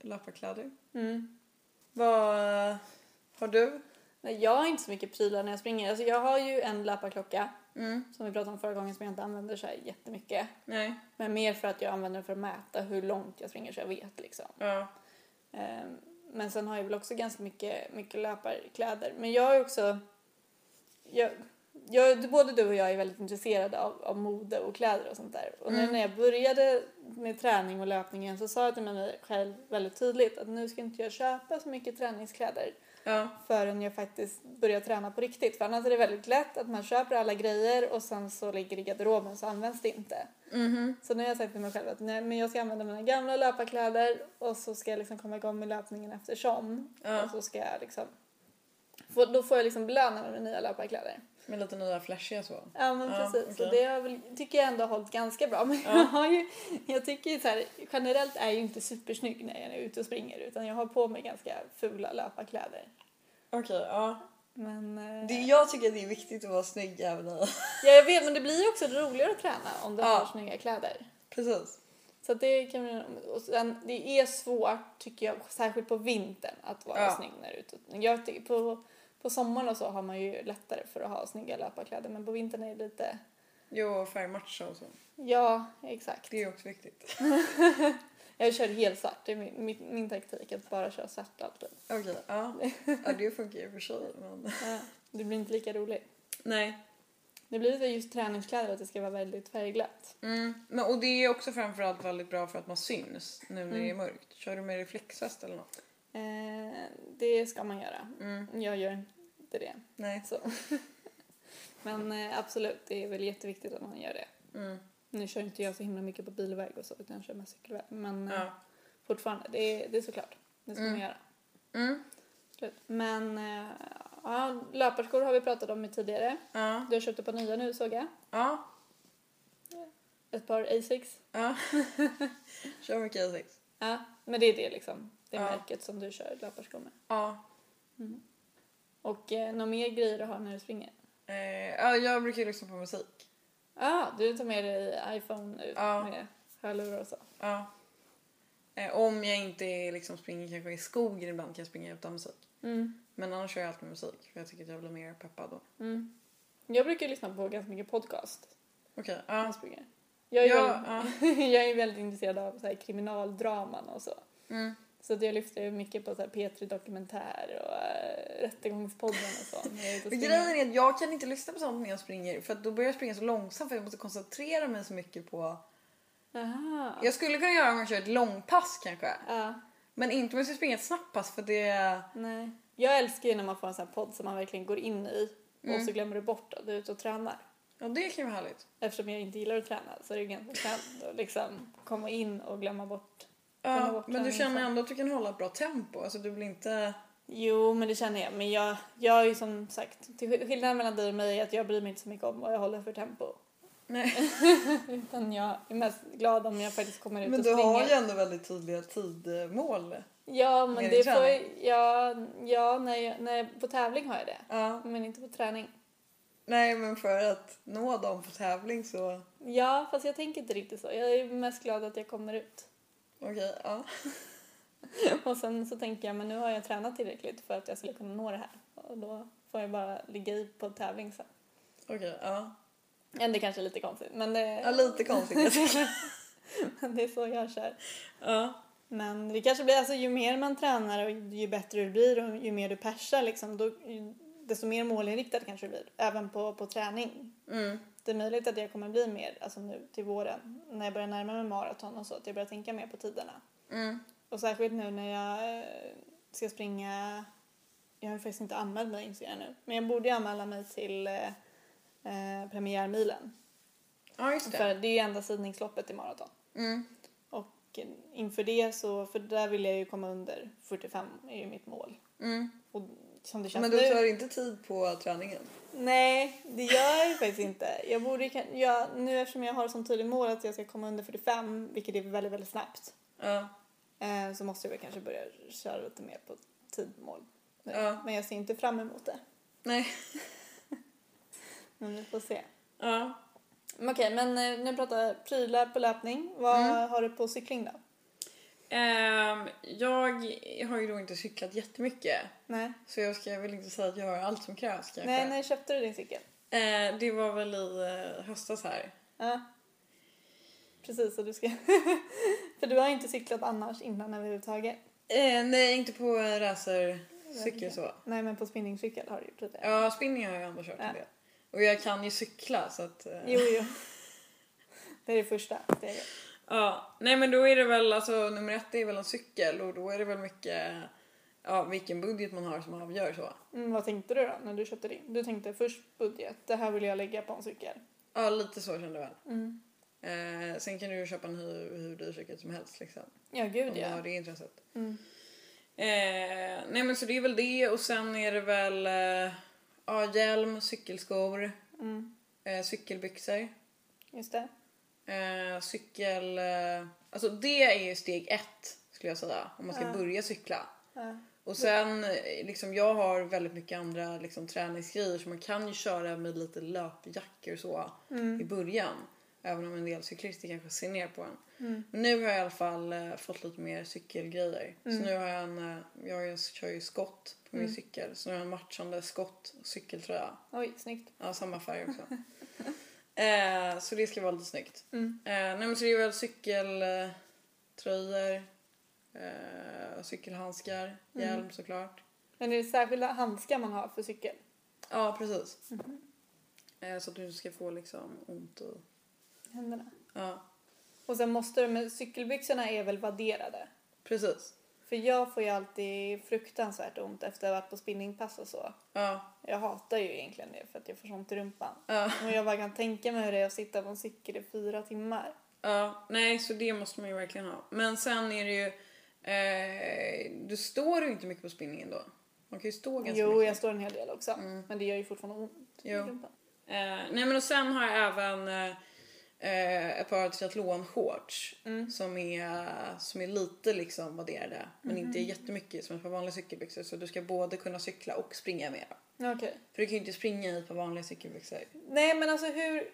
Speaker 2: löparkläder.
Speaker 1: Mm.
Speaker 2: Vad eh, har du?
Speaker 1: Nej, jag har inte så mycket prylar när jag springer. Alltså, jag har ju en löparklocka
Speaker 2: Mm.
Speaker 1: som vi pratade om förra gången som jag inte använder så här jättemycket.
Speaker 2: Nej.
Speaker 1: Men mer för att jag använder den för att mäta hur långt jag springer så jag vet liksom.
Speaker 2: Ja.
Speaker 1: Ehm, Men sen har jag väl också ganska mycket, mycket löparkläder. Men jag är också... Jag, jag, både du och jag är väldigt intresserade av, av mode och kläder och sånt där. Och nu
Speaker 2: Mm.
Speaker 1: när jag började med träning och löpningen så sa jag till mig själv väldigt tydligt att nu ska inte jag köpa så mycket träningskläder
Speaker 2: Ja.
Speaker 1: förrän jag faktiskt börjar träna på riktigt. För annars är det väldigt lätt att man köper alla grejer och sen så ligger det i garderoben så används det inte.
Speaker 2: Mhm.
Speaker 1: Så nu har jag sagt till mig själv att nej, men jag ska använda mina gamla löparkläder och så ska jag liksom komma igång med löpningen eftersom.
Speaker 2: ja.
Speaker 1: Och så ska jag liksom, få, då får jag liksom belöna mig med nya löparkläder.
Speaker 2: Med lite nya flashiga så.
Speaker 1: Ja men
Speaker 2: Ja,
Speaker 1: precis, så
Speaker 2: okej.
Speaker 1: det har väl, tycker jag ändå har hållit ganska bra. Men
Speaker 2: Ja.
Speaker 1: jag, har ju, jag tycker ju så här, generellt är jag ju inte supersnygg när jag är ute och springer utan jag har på mig ganska fula löparkläder.
Speaker 2: Okej, ja.
Speaker 1: Men, eh,
Speaker 2: Det, jag tycker att det är viktigt att vara snygg även i...
Speaker 1: Ja, jag vet, men det blir ju också roligare att träna om du
Speaker 2: Ja.
Speaker 1: har snygga kläder.
Speaker 2: Precis.
Speaker 1: Så att det, kan, man- och sen, det är svårt, tycker jag, särskilt på vintern att vara
Speaker 2: Ja.
Speaker 1: snygg när du är ute. Jag tycker på, på sommaren och så har man ju lättare för att ha snygga löparkläder, men på vintern är det lite...
Speaker 2: Jo, och färgmatcha och så.
Speaker 1: Ja, exakt.
Speaker 2: Det är också viktigt.
Speaker 1: Jag kör helt svart. Det är min, min, min taktik, att bara köra svart alltid.
Speaker 2: Okej, ja. ja. Det funkar ju i och för sig, men...
Speaker 1: Ja, Det blir inte lika roligt.
Speaker 2: Nej.
Speaker 1: Det blir väl just träningskläder att det ska vara väldigt färgglatt.
Speaker 2: Mm. Men, och det är också framförallt väldigt bra för att man syns nu när det är mörkt. Kör du med reflexväst eller något?
Speaker 1: Eh, det ska man göra.
Speaker 2: Mm.
Speaker 1: Jag gör inte det.
Speaker 2: Nej.
Speaker 1: Så. Men eh, absolut, det är väl jätteviktigt att man gör det.
Speaker 2: Mm.
Speaker 1: Nu kör inte jag så himla mycket på bilväg och så utan jag kör mest cykelväg. Men eh,
Speaker 2: Ja.
Speaker 1: fortfarande, det är, det är såklart. Det ska
Speaker 2: Mm.
Speaker 1: man göra.
Speaker 2: Mm.
Speaker 1: Absolut. Men eh, ja, löparskor har vi pratat om tidigare.
Speaker 2: Ja.
Speaker 1: Du har köpt ett par nya nu såg jag.
Speaker 2: Ja.
Speaker 1: Ett par Asics.
Speaker 2: Ja. Kör mycket Asics.
Speaker 1: Ja, men det är det liksom. Det är
Speaker 2: Ja.
Speaker 1: märket som du kör löparskor med. Mm.
Speaker 2: Ja.
Speaker 1: Och eh, några mer grejer du har när du springer?
Speaker 2: Eh, ja, jag brukar ju lyssna på musik.
Speaker 1: Ja, du tar med dig iPhone ut
Speaker 2: Ja.
Speaker 1: med hörlurar och så.
Speaker 2: Ja. Eh, om jag inte är, liksom, springer kanske i skogen ibland kan jag springa utan musik.
Speaker 1: Mm.
Speaker 2: Men annars kör jag alltid med musik för jag tycker att jag blir mer peppad då.
Speaker 1: Mm. Jag brukar lyssna på ganska mycket podcast
Speaker 2: Okej,
Speaker 1: när jag
Speaker 2: ja.
Speaker 1: springer. Jag är,
Speaker 2: Ja,
Speaker 1: väldigt, jag är väldigt intresserad av så här kriminaldraman och så.
Speaker 2: Mm.
Speaker 1: Så att jag lyfter ju mycket på så här P3 Dokumentär och äh, Rättegångspodden och så. när jag är ute och
Speaker 2: Men
Speaker 1: springer.
Speaker 2: Grejen är att jag kan inte lyssna på sånt när jag springer för att då börjar jag springa så långsamt för jag måste koncentrera mig så mycket på...
Speaker 1: Aha.
Speaker 2: Jag skulle kunna göra om jag kör ett långpass kanske.
Speaker 1: Ja,
Speaker 2: Men inte om jag ska springa ett snabbt pass för det...
Speaker 1: nej. Jag älskar ju när man får en sån här podd som man verkligen går in i och
Speaker 2: Mm.
Speaker 1: så glömmer du bort att du är ute och tränar.
Speaker 2: Ja, det kan ju vara härligt.
Speaker 1: Eftersom jag inte gillar att träna så är det ju ganska skönt att liksom komma in och glömma bort. Glömma
Speaker 2: Ja,
Speaker 1: bort
Speaker 2: men du
Speaker 1: träningen
Speaker 2: känner
Speaker 1: sen.
Speaker 2: ändå att du kan hålla ett bra tempo. Alltså du blir inte...
Speaker 1: Jo, men det känner jag. Men jag, jag är ju som sagt, till skill- skillnaden mellan dig och mig är att jag bryr mig inte så mycket om vad jag håller för tempo.
Speaker 2: Nej,
Speaker 1: Utan jag är mest glad om jag faktiskt kommer ut
Speaker 2: men
Speaker 1: och
Speaker 2: du
Speaker 1: springer.
Speaker 2: har ju ändå väldigt tydliga tidmål.
Speaker 1: Ja, men
Speaker 2: Mer
Speaker 1: det
Speaker 2: än
Speaker 1: får jag... Ja, ja när jag, när jag, på tävling har jag det.
Speaker 2: Ja,
Speaker 1: Men inte på träning.
Speaker 2: nej men för att nå dem på tävling så...
Speaker 1: Ja, fast jag tänker inte riktigt så. Jag är mest glad att jag kommer ut.
Speaker 2: Okej, ja.
Speaker 1: Och sen så tänker jag, men nu har jag tränat tillräckligt för att jag skulle kunna nå det här. Och då får jag bara ligga i på tävling sen.
Speaker 2: Okej, ja.
Speaker 1: Ja, det kanske är lite konstigt, men
Speaker 2: ja.
Speaker 1: det,
Speaker 2: Lite konstigt jag tycker.
Speaker 1: det är så jag kör.
Speaker 2: Ja.
Speaker 1: Men det kanske blir, alltså ju mer man tränar och ju bättre du blir och ju mer du persar liksom, då, desto mer målinriktad kanske du blir. Även på, på träning.
Speaker 2: Mm.
Speaker 1: Det är möjligt att jag kommer bli mer, alltså nu till våren, när jag börjar närma mig maraton och så, att jag börjar tänka mer på tiderna.
Speaker 2: Mm.
Speaker 1: Och särskilt nu när jag eh, ska springa, jag har ju faktiskt inte anmält mig inser jag nu, men jag borde ju anmäla mig till eh, eh, premiärmilen.
Speaker 2: Ja, just det.
Speaker 1: För det är ju enda sidningsloppet i maraton.
Speaker 2: Mm.
Speaker 1: Och inför det så, för där vill jag ju komma under 45 är ju mitt mål.
Speaker 2: Mm.
Speaker 1: Och som det känns
Speaker 2: Men du
Speaker 1: nu.
Speaker 2: tar inte tid på träningen?
Speaker 1: Nej, det gör jag ju faktiskt inte. Jag borde ju kan- jag, nu eftersom jag har som tydligt mål att jag ska komma under 45, vilket är väldigt, väldigt snabbt,
Speaker 2: Ja.
Speaker 1: eh, så måste jag väl kanske börja köra lite mer på tidmål. nu.
Speaker 2: Ja.
Speaker 1: Men jag ser inte fram emot det.
Speaker 2: Nej.
Speaker 1: Men vi får se.
Speaker 2: Ja.
Speaker 1: Men okej, men eh, nu pratar jag prylar på löpning. Vad
Speaker 2: Mm.
Speaker 1: har du på cykling då?
Speaker 2: Ehm, jag har ju då inte cyklat jättemycket
Speaker 1: Nej,
Speaker 2: så jag ska väl inte säga att jag har allt som krävs kanske.
Speaker 1: nej, nej köpte du din cykel?
Speaker 2: Eh, det var väl i eh, höstas här.
Speaker 1: Ja. Precis, och du ska... För du har inte cyklat annars innan överhuvudtaget.
Speaker 2: Eh, nej, inte på eh, racercykel så.
Speaker 1: Nej, men på spinningcykel har du gjort det.
Speaker 2: Ja, spinning har jag ändå kört
Speaker 1: Ja.
Speaker 2: en del. Och jag kan ju cykla så att... eh,
Speaker 1: Jo, jo. Det är det första steget.
Speaker 2: Ja, nej men då är det väl alltså nummer ett är väl en cykel och då är det väl mycket ja, vilken budget man har som avgör så.
Speaker 1: Mm, vad tänkte du då när du köpte din? Du tänkte först budget, det här vill jag lägga på en cykel.
Speaker 2: Ja, lite så kände jag väl.
Speaker 1: Mm.
Speaker 2: Eh, sen kan du ju köpa en hur, hur dyr cykel som helst liksom.
Speaker 1: Ja,
Speaker 2: Om
Speaker 1: gud
Speaker 2: du har
Speaker 1: ja.
Speaker 2: det intresset.
Speaker 1: Mm.
Speaker 2: Eh, nej men så det är väl det och sen är det väl eh, ja, hjälm, cykelskor,
Speaker 1: Mm.
Speaker 2: eh, cykelbyxor,
Speaker 1: Just det.
Speaker 2: eh, cykel... Eh, alltså det är ju steg ett skulle jag säga om man ska
Speaker 1: Ja.
Speaker 2: börja cykla.
Speaker 1: Ja.
Speaker 2: Och sen eh, liksom jag har väldigt mycket andra liksom, träningsgrejer så man kan ju köra med lite löpjackor och så i
Speaker 1: Mm.
Speaker 2: början. Även om en del cyklister kanske ser ner på en.
Speaker 1: Mm.
Speaker 2: Men nu har jag i alla fall eh, fått lite mer cykelgrejer.
Speaker 1: Mm.
Speaker 2: Så nu har jag en, eh, jag har ju- kör ju skott på min
Speaker 1: Mm.
Speaker 2: cykel. Så nu har jag en matchande skott och cykeltröja.
Speaker 1: Oj, snyggt.
Speaker 2: Ja, samma färg också. eh, så det ska vara lite snyggt.
Speaker 1: Mm.
Speaker 2: Eh, nej men så det är väl cykeltröjor, eh, cykelhandskar,
Speaker 1: Mm.
Speaker 2: hjälm såklart.
Speaker 1: Men är det särskilda handskar man har för cykel?
Speaker 2: Ja, precis. Eh, så att du inte ska få liksom ont i...
Speaker 1: händerna.
Speaker 2: Ja,
Speaker 1: Och sen måste du, men cykelbyxorna är väl vadderade?
Speaker 2: precis.
Speaker 1: För jag får ju alltid fruktansvärt ont efter att ha varit på spinningpass och så.
Speaker 2: Ja,
Speaker 1: Jag hatar ju egentligen det för att jag får sånt i rumpan.
Speaker 2: ja,
Speaker 1: Och jag bara kan tänka mig hur det är att sitta på en cykel i fyra timmar.
Speaker 2: ja. Nej, så det måste man ju verkligen ha. Men sen är det ju... Eh, du står ju inte mycket på spinningen då. Man kan ju stå ganska
Speaker 1: Jo,
Speaker 2: mycket.
Speaker 1: jag står en hel del också.
Speaker 2: Mm.
Speaker 1: Men det gör ju fortfarande ont i
Speaker 2: Jo.
Speaker 1: rumpan.
Speaker 2: Eh, nej men och sen har jag även eh, eh, ett par triathlon-shorts
Speaker 1: Mm.
Speaker 2: som, är, som är lite liksom vadderade men inte
Speaker 1: Mhm.
Speaker 2: jättemycket som ett par vanliga cykelbyxor så du ska både kunna cykla och springa med dem.
Speaker 1: Okej.
Speaker 2: För du kan ju inte springa i ett par vanliga cykelbyxor.
Speaker 1: Nej, men alltså hur...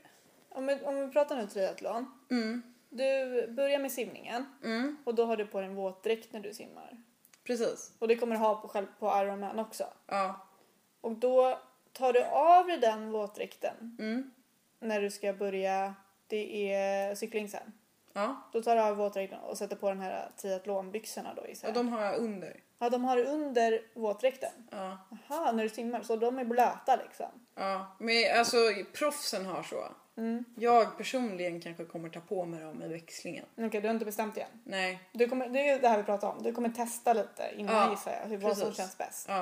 Speaker 1: Om vi, om vi pratar nu triathlon.
Speaker 2: Mm,
Speaker 1: Du börjar med simningen
Speaker 2: mm,
Speaker 1: och då har du på dig en våtdräkt när du simmar.
Speaker 2: precis.
Speaker 1: Och det kommer du ha på, själv på Ironman också.
Speaker 2: Ja.
Speaker 1: Och då tar du av dig den våtdräkten
Speaker 2: Mm,
Speaker 1: när du ska börja, det är cykling sen.
Speaker 2: ja.
Speaker 1: Då tar du av våtdräkten och sätter på den här triathlonbyxorna då gissar
Speaker 2: Och
Speaker 1: jag.
Speaker 2: de har jag under.
Speaker 1: Ja, de har det under våtdräkten.
Speaker 2: Ja.
Speaker 1: Aha, när du simmar. Så de är blöta liksom.
Speaker 2: Ja, men alltså proffsen har så.
Speaker 1: Mm.
Speaker 2: Jag personligen kanske kommer ta på mig dem i växlingen.
Speaker 1: Okej, du har inte bestämt igen.
Speaker 2: Nej,
Speaker 1: Du kommer, det är ju det här vi pratar om. Du kommer testa lite innan
Speaker 2: Ja,
Speaker 1: gissar jag. Hur, vad som
Speaker 2: precis.
Speaker 1: känns bäst.
Speaker 2: Ja.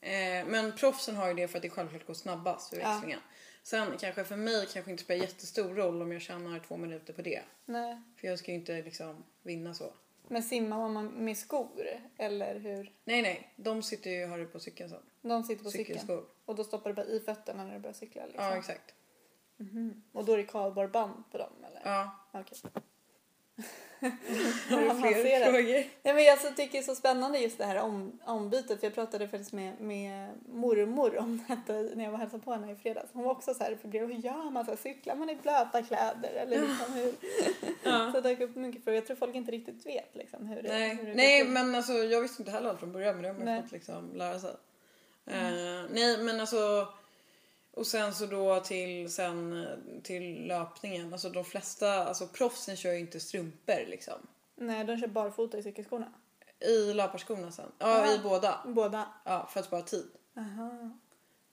Speaker 2: Eh, men proffsen har ju det för att det självklart går snabbast vid
Speaker 1: Ja.
Speaker 2: växlingen. Sen kanske för mig kanske inte spelar jättestor roll om jag tjänar två minuter på det.
Speaker 1: Nej.
Speaker 2: För jag ska ju inte liksom vinna så.
Speaker 1: Men simmar man med skor? Eller hur?
Speaker 2: Nej, nej. De sitter ju har du på cykeln sen.
Speaker 1: De sitter på cykeln.
Speaker 2: Cykelskor.
Speaker 1: Och då stoppar du bara i fötterna när du börjar cykla liksom.
Speaker 2: Ja, exakt.
Speaker 1: Mhm. Och då är det kardborreband band på dem eller?
Speaker 2: Ja.
Speaker 1: Okej.
Speaker 2: Har du fler
Speaker 1: Avancerat.
Speaker 2: frågor?
Speaker 1: Nej, men jag så tycker det är så spännande just det här om, ombytet. För jag pratade faktiskt med, med mormor om detta när jag var och hälsade på henne i fredags. Hon var också så här förbryllad. Hur gör man? Så här, cyklar man i blöta kläder? Eller liksom hur?
Speaker 2: Ja.
Speaker 1: Så det dök upp mycket frågor. Jag tror folk inte riktigt vet liksom hur det
Speaker 2: Nej,
Speaker 1: hur det går
Speaker 2: nej
Speaker 1: till.
Speaker 2: men alltså jag visste inte heller allt från början men det har man ju
Speaker 1: Nej. Mm.
Speaker 2: fått liksom lära sig. Eh, nej men alltså och sen så då till, sen, eh, till löpningen. Alltså de flesta, alltså proffsen kör ju inte strumpor liksom.
Speaker 1: Nej, de kör barfota i cykelskorna.
Speaker 2: I löparskorna sen. Ja,
Speaker 1: Ja.
Speaker 2: i båda.
Speaker 1: Båda.
Speaker 2: Ja, för att spara tid.
Speaker 1: Aha.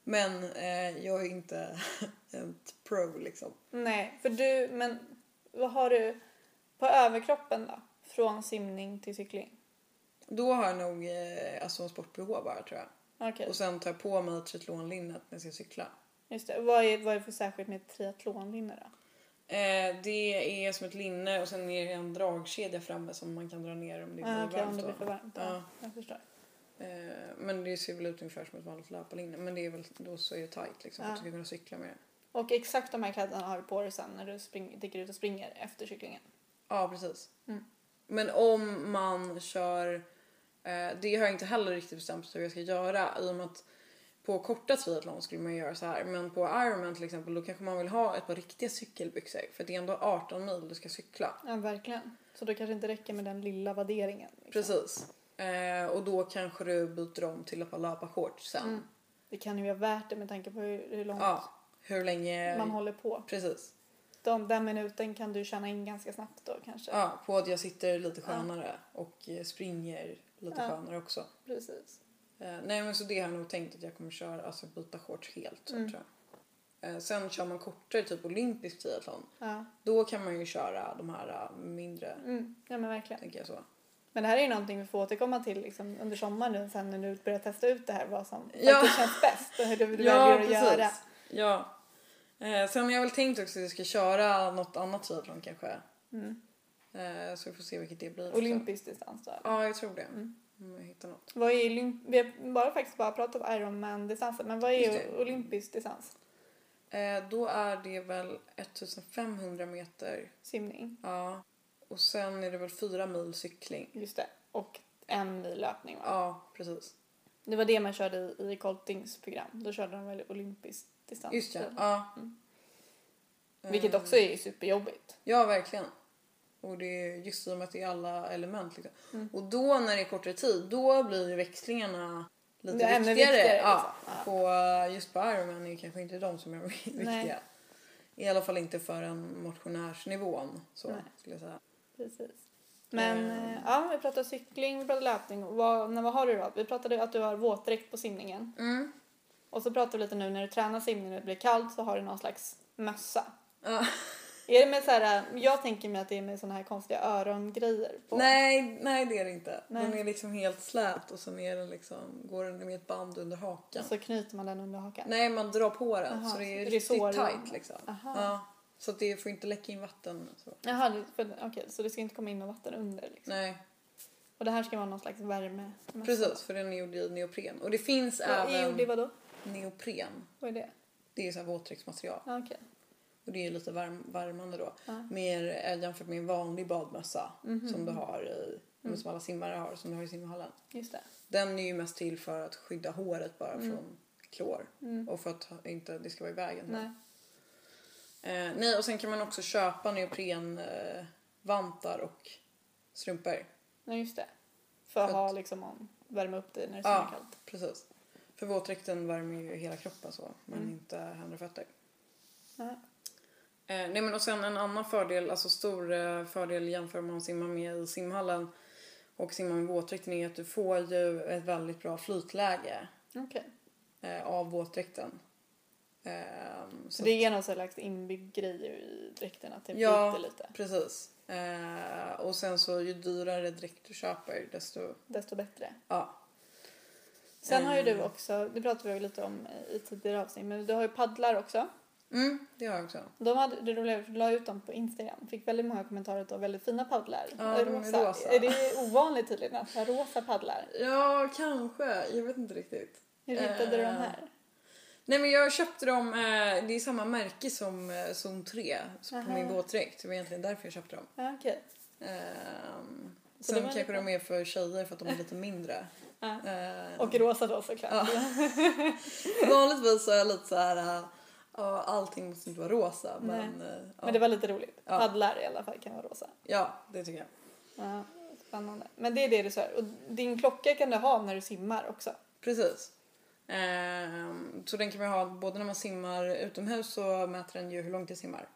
Speaker 2: Men eh, jag är inte ett pro liksom.
Speaker 1: Nej, för du, men vad har du på överkroppen då? Från simning till cykling?
Speaker 2: Då har jag nog eh, alltså en sport-bh bara tror jag.
Speaker 1: Okej,
Speaker 2: Och sen tar jag på mig triathlonlinnet när jag ska cykla.
Speaker 1: just det. Vad är, vad är det för särskilt med triathlonlinne då?
Speaker 2: Eh, det är som ett linne och sen är det en dragkedja framme som man kan dra ner om det blir
Speaker 1: Ah, Okej, om
Speaker 2: varmt.
Speaker 1: det blir
Speaker 2: då.
Speaker 1: för varmt. Ja.
Speaker 2: Ja.
Speaker 1: Jag förstår.
Speaker 2: Eh, men det ser väl ut ungefär som ett vanligt löparlinne. Men det är väl, då så är det tight liksom. för
Speaker 1: Ja.
Speaker 2: Att du ska kunna cykla med det.
Speaker 1: Och exakt de här kläderna har du på dig sen när du spring, dricker ut och springer efter cyklingen.
Speaker 2: Ja, precis.
Speaker 1: Mm.
Speaker 2: Men om man kör... Eh, det har jag inte heller riktigt bestämt mig för hur jag ska göra. I och med att på korta triathlon skulle man ju göra så här. Men på Ironman till exempel då kanske man vill ha ett par riktiga cykelbyxor. För det är ändå 18 mil du ska cykla.
Speaker 1: Ja, verkligen. Så då kanske inte räcker med den lilla vadderingen. liksom.
Speaker 2: Precis. Eh, och då kanske du byter om till ett par löparshorts sen.
Speaker 1: Mm. Det kan ju vara värt det med tanke på hur, hur långt
Speaker 2: Ja, hur länge...
Speaker 1: man håller på.
Speaker 2: Precis.
Speaker 1: De, den minuten kan du tjäna in ganska snabbt då kanske.
Speaker 2: Ja, på att jag sitter lite
Speaker 1: Ja.
Speaker 2: skönare och eh, springer lite
Speaker 1: Ja.
Speaker 2: skönare också.
Speaker 1: Precis.
Speaker 2: Eh, nej men så det har jag nog tänkt att jag kommer köra, alltså byta shorts helt så
Speaker 1: Mm.
Speaker 2: tror jag. Eh, sen kör man kortare, typ olympisk triathlon.
Speaker 1: Ja.
Speaker 2: Då kan man ju köra de här eh, mindre,
Speaker 1: Mm. ja, men verkligen.
Speaker 2: tänker jag så.
Speaker 1: Men det här är ju någonting vi får återkomma till liksom, under sommaren nu sen när du börjar testa ut det här vad som
Speaker 2: Ja.
Speaker 1: faktiskt känns bäst och hur du väljer att göra.
Speaker 2: Ja. Eh, sen har jag väl tänkt också att jag ska köra något annat triathlon kanske.
Speaker 1: Mm.
Speaker 2: Eh, så vi får se vilket det blir.
Speaker 1: Olympisk distans då.
Speaker 2: Ja, jag tror det.
Speaker 1: Mm.
Speaker 2: Om jag hittar något.
Speaker 1: Vad är olymp- vi har bara, faktiskt bara pratat om Ironman-distansen, men vad
Speaker 2: Just
Speaker 1: är
Speaker 2: det.
Speaker 1: olympisk distans?
Speaker 2: Eh, då är det väl 1500 meter.
Speaker 1: Simning,
Speaker 2: Ja. Och sen är det väl fyra mil cykling.
Speaker 1: just det. Och en mil löpning va?
Speaker 2: Ja, precis.
Speaker 1: Det var det man körde i, i Coltings program. Då körde de väl olympisk distans.
Speaker 2: Just det,
Speaker 1: tror jag.
Speaker 2: ja.
Speaker 1: Mm.
Speaker 2: Eh,
Speaker 1: Vilket också är superjobbigt.
Speaker 2: Ja, verkligen. Och det är just i och med att det är alla element. Liksom.
Speaker 1: Mm.
Speaker 2: Och då när det är kortare tid, då blir ju växlingarna lite
Speaker 1: Det är ännu
Speaker 2: viktigare.
Speaker 1: viktigare,
Speaker 2: ja.
Speaker 1: liksom. Ja.
Speaker 2: På, eh, just på Ironman är det kanske inte de som är viktiga. I alla fall inte för en motionärsnivån. Så,
Speaker 1: Nej.
Speaker 2: skulle jag säga.
Speaker 1: Precis. Men
Speaker 2: Ehm.
Speaker 1: eh, ja, vi pratar cykling, vi pratar löpning. Vad, när, vad har du då? Vi pratade att du har våtdräkt på simningen.
Speaker 2: Mm.
Speaker 1: Och så pratar vi lite nu när du tränar simning och det blir kallt så har du någon slags mössa.
Speaker 2: Ja.
Speaker 1: Är det med så här, jag tänker mig att det är med såna här konstiga örongrejer på.
Speaker 2: Nej, nej det är det inte. Den
Speaker 1: Nej.
Speaker 2: är liksom helt slät och sen är den liksom, går den med ett band under hakan.
Speaker 1: Och så knyter man den under hakan.
Speaker 2: Nej, man drar på den
Speaker 1: Alltså, Aha,
Speaker 2: så det är
Speaker 1: så det
Speaker 2: riktigt
Speaker 1: sår-
Speaker 2: tight liksom.
Speaker 1: Aha.
Speaker 2: Ja, så att det får inte läcka in vatten. och Så.
Speaker 1: Jaha, det- för- okej så det ska inte komma in något vatten under liksom.
Speaker 2: Nej,
Speaker 1: Och det här ska vara någon slags värme.
Speaker 2: precis för den är gjord i neopren. Och det finns
Speaker 1: Vad är
Speaker 2: även
Speaker 1: gjord i vadå?
Speaker 2: neopren.
Speaker 1: Vad är det?
Speaker 2: Det är så här våtdräktsmaterial
Speaker 1: Ja, okej.
Speaker 2: och det är ju lite varm, värmande då.
Speaker 1: Ja.
Speaker 2: Mer eh, jämfört med en vanlig badmössa
Speaker 1: Mhm. Mm.
Speaker 2: som du har i, men som alla simmare har, som du har i simhallen.
Speaker 1: Just det.
Speaker 2: Den är ju mest till för att skydda håret bara
Speaker 1: Mm.
Speaker 2: från klor
Speaker 1: Mm.
Speaker 2: och för att ha- inte det ska vara i vägen.
Speaker 1: Nej.
Speaker 2: Eh, nej, och sen kan man också köpa neopren eh, vantar och strumpor.
Speaker 1: Nej, just det. För att
Speaker 2: För att-
Speaker 1: ha liksom om, värma upp dig när det är så
Speaker 2: Ja.
Speaker 1: kallt.
Speaker 2: Precis. För våtdräkten värmer ju hela kroppen så, men
Speaker 1: Mm.
Speaker 2: inte händer och fötter.
Speaker 1: Nej.
Speaker 2: Eh, nej men och sen en annan fördel, alltså stor eh, fördel jämför man simmar med i simhallen och simmar med våtdräkten är att du får ju ett väldigt bra flytläge
Speaker 1: Okej.
Speaker 2: eh, av våtdräkten. Ehm,
Speaker 1: Så det är någon slags inbyggd grej i dräkten att det
Speaker 2: Ja.
Speaker 1: flyter lite.
Speaker 2: Precis. Eh, och sen så ju dyrare dräkt du köper desto...
Speaker 1: Desto bättre.
Speaker 2: Ja.
Speaker 1: Sen har ju
Speaker 2: Eh.
Speaker 1: du också, det pratade vi lite om i tidigare avsnitt, men du har ju paddlar också.
Speaker 2: Mm, det har jag också.
Speaker 1: De hade, det roliga var att du la ut dem på Instagram. Fick väldigt många kommentarer att du har väldigt fina paddlar.
Speaker 2: Ja, de är rosa.
Speaker 1: Är det ovanligt tydligen att ha rosa paddlar?
Speaker 2: Ja, kanske. Jag vet inte riktigt.
Speaker 1: Hur hittade du
Speaker 2: Eh.
Speaker 1: de här?
Speaker 2: Nej men jag köpte dem, eh, det är samma märke som eh, zon 3 så på
Speaker 1: Aha.
Speaker 2: min våtdräkt. Det var egentligen därför jag köpte dem.
Speaker 1: Ja, okej. Så
Speaker 2: Ehm,
Speaker 1: det
Speaker 2: sen
Speaker 1: var
Speaker 2: kanske
Speaker 1: lite-
Speaker 2: de är för tjejer för att de är lite mindre.
Speaker 1: Ja.
Speaker 2: Ehm,
Speaker 1: Och rosa då såklart.
Speaker 2: Ja. Vanligtvis så är jag lite så här, eh, ja allting måste inte vara rosa men, eh, ja.
Speaker 1: Men det var lite roligt.
Speaker 2: Ja.
Speaker 1: Paddlar i alla fall kan vara rosa.
Speaker 2: ja det tycker jag.
Speaker 1: Ja, spännande. Men det är det du sa. Och din klocka kan du ha när du simmar också.
Speaker 2: Precis. Ehm, så den kan man ha både när man simmar utomhus så mäter den ju hur långt jag simmar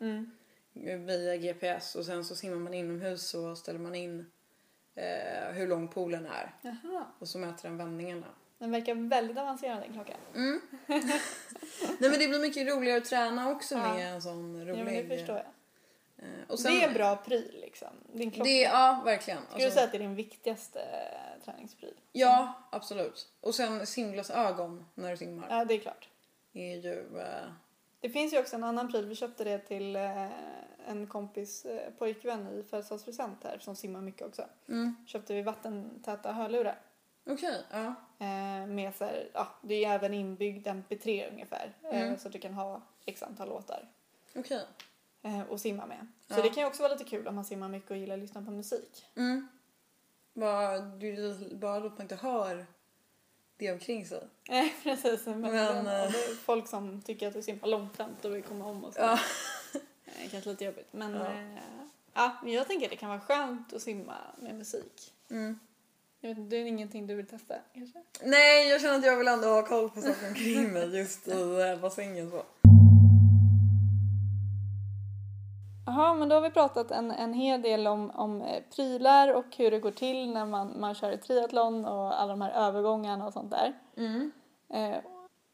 Speaker 2: via GPS och sen så simmar man inomhus så ställer man in eh, hur lång poolen är
Speaker 1: Jaha.
Speaker 2: och så mäter den vändningarna.
Speaker 1: Den verkar väldigt avancerad den klockan.
Speaker 2: Mm. Nej men det blir mycket roligare att träna också
Speaker 1: Ja.
Speaker 2: med en sån
Speaker 1: Ja, men
Speaker 2: rolig...
Speaker 1: det förstår jag.
Speaker 2: Eh, och sen,
Speaker 1: det är en bra pryl liksom. Din klocka.
Speaker 2: Det, ja, verkligen.
Speaker 1: Skulle
Speaker 2: Alltså-
Speaker 1: du säga att det är din viktigaste eh, träningspryl?
Speaker 2: Ja, absolut. Och sen simglasögon när du simmar
Speaker 1: Ja, det är klart.
Speaker 2: är ju... Eh,
Speaker 1: Det finns ju också en annan pryl. Vi köpte det till eh, en kompis eh, pojkvän i födelsedagspresent här som simmar mycket också.
Speaker 2: mm,
Speaker 1: Köpte vi vattentäta hörlurar.
Speaker 2: Okej, ja.
Speaker 1: Eh, med så här, ja, det är ju även inbyggd MP3 ungefär. Eh,
Speaker 2: Mm.
Speaker 1: så att du kan ha x antal låtar
Speaker 2: Okej.
Speaker 1: eh, och simma med. Så
Speaker 2: Ja.
Speaker 1: det kan ju också vara lite kul om man simmar mycket och gillar att lyssna på musik.
Speaker 2: Mm. Bara, du, bara att man inte hör det omkring sig.
Speaker 1: Eh, precis, men,
Speaker 2: Men,
Speaker 1: men
Speaker 2: eh.
Speaker 1: och det är folk som tycker att du simmar långsamt och vill komma om och så.
Speaker 2: Ja.
Speaker 1: Eh, kanske lite jobbigt. Men
Speaker 2: Ja.
Speaker 1: eh, ja, men jag tänker att det kan vara skönt att simma med musik.
Speaker 2: Mm.
Speaker 1: Jag vet, inte, det är ingenting du vill testa kanske?
Speaker 2: Nej, jag känner att jag vill ändå ha koll på saker omkring mig just i eh, bassängen så.
Speaker 1: Jaha, men då har vi pratat en, en hel del om, om eh, prylar och hur det går till när man, man kör triathlon och alla de här övergångarna och sånt där.
Speaker 2: Mm.
Speaker 1: Eh,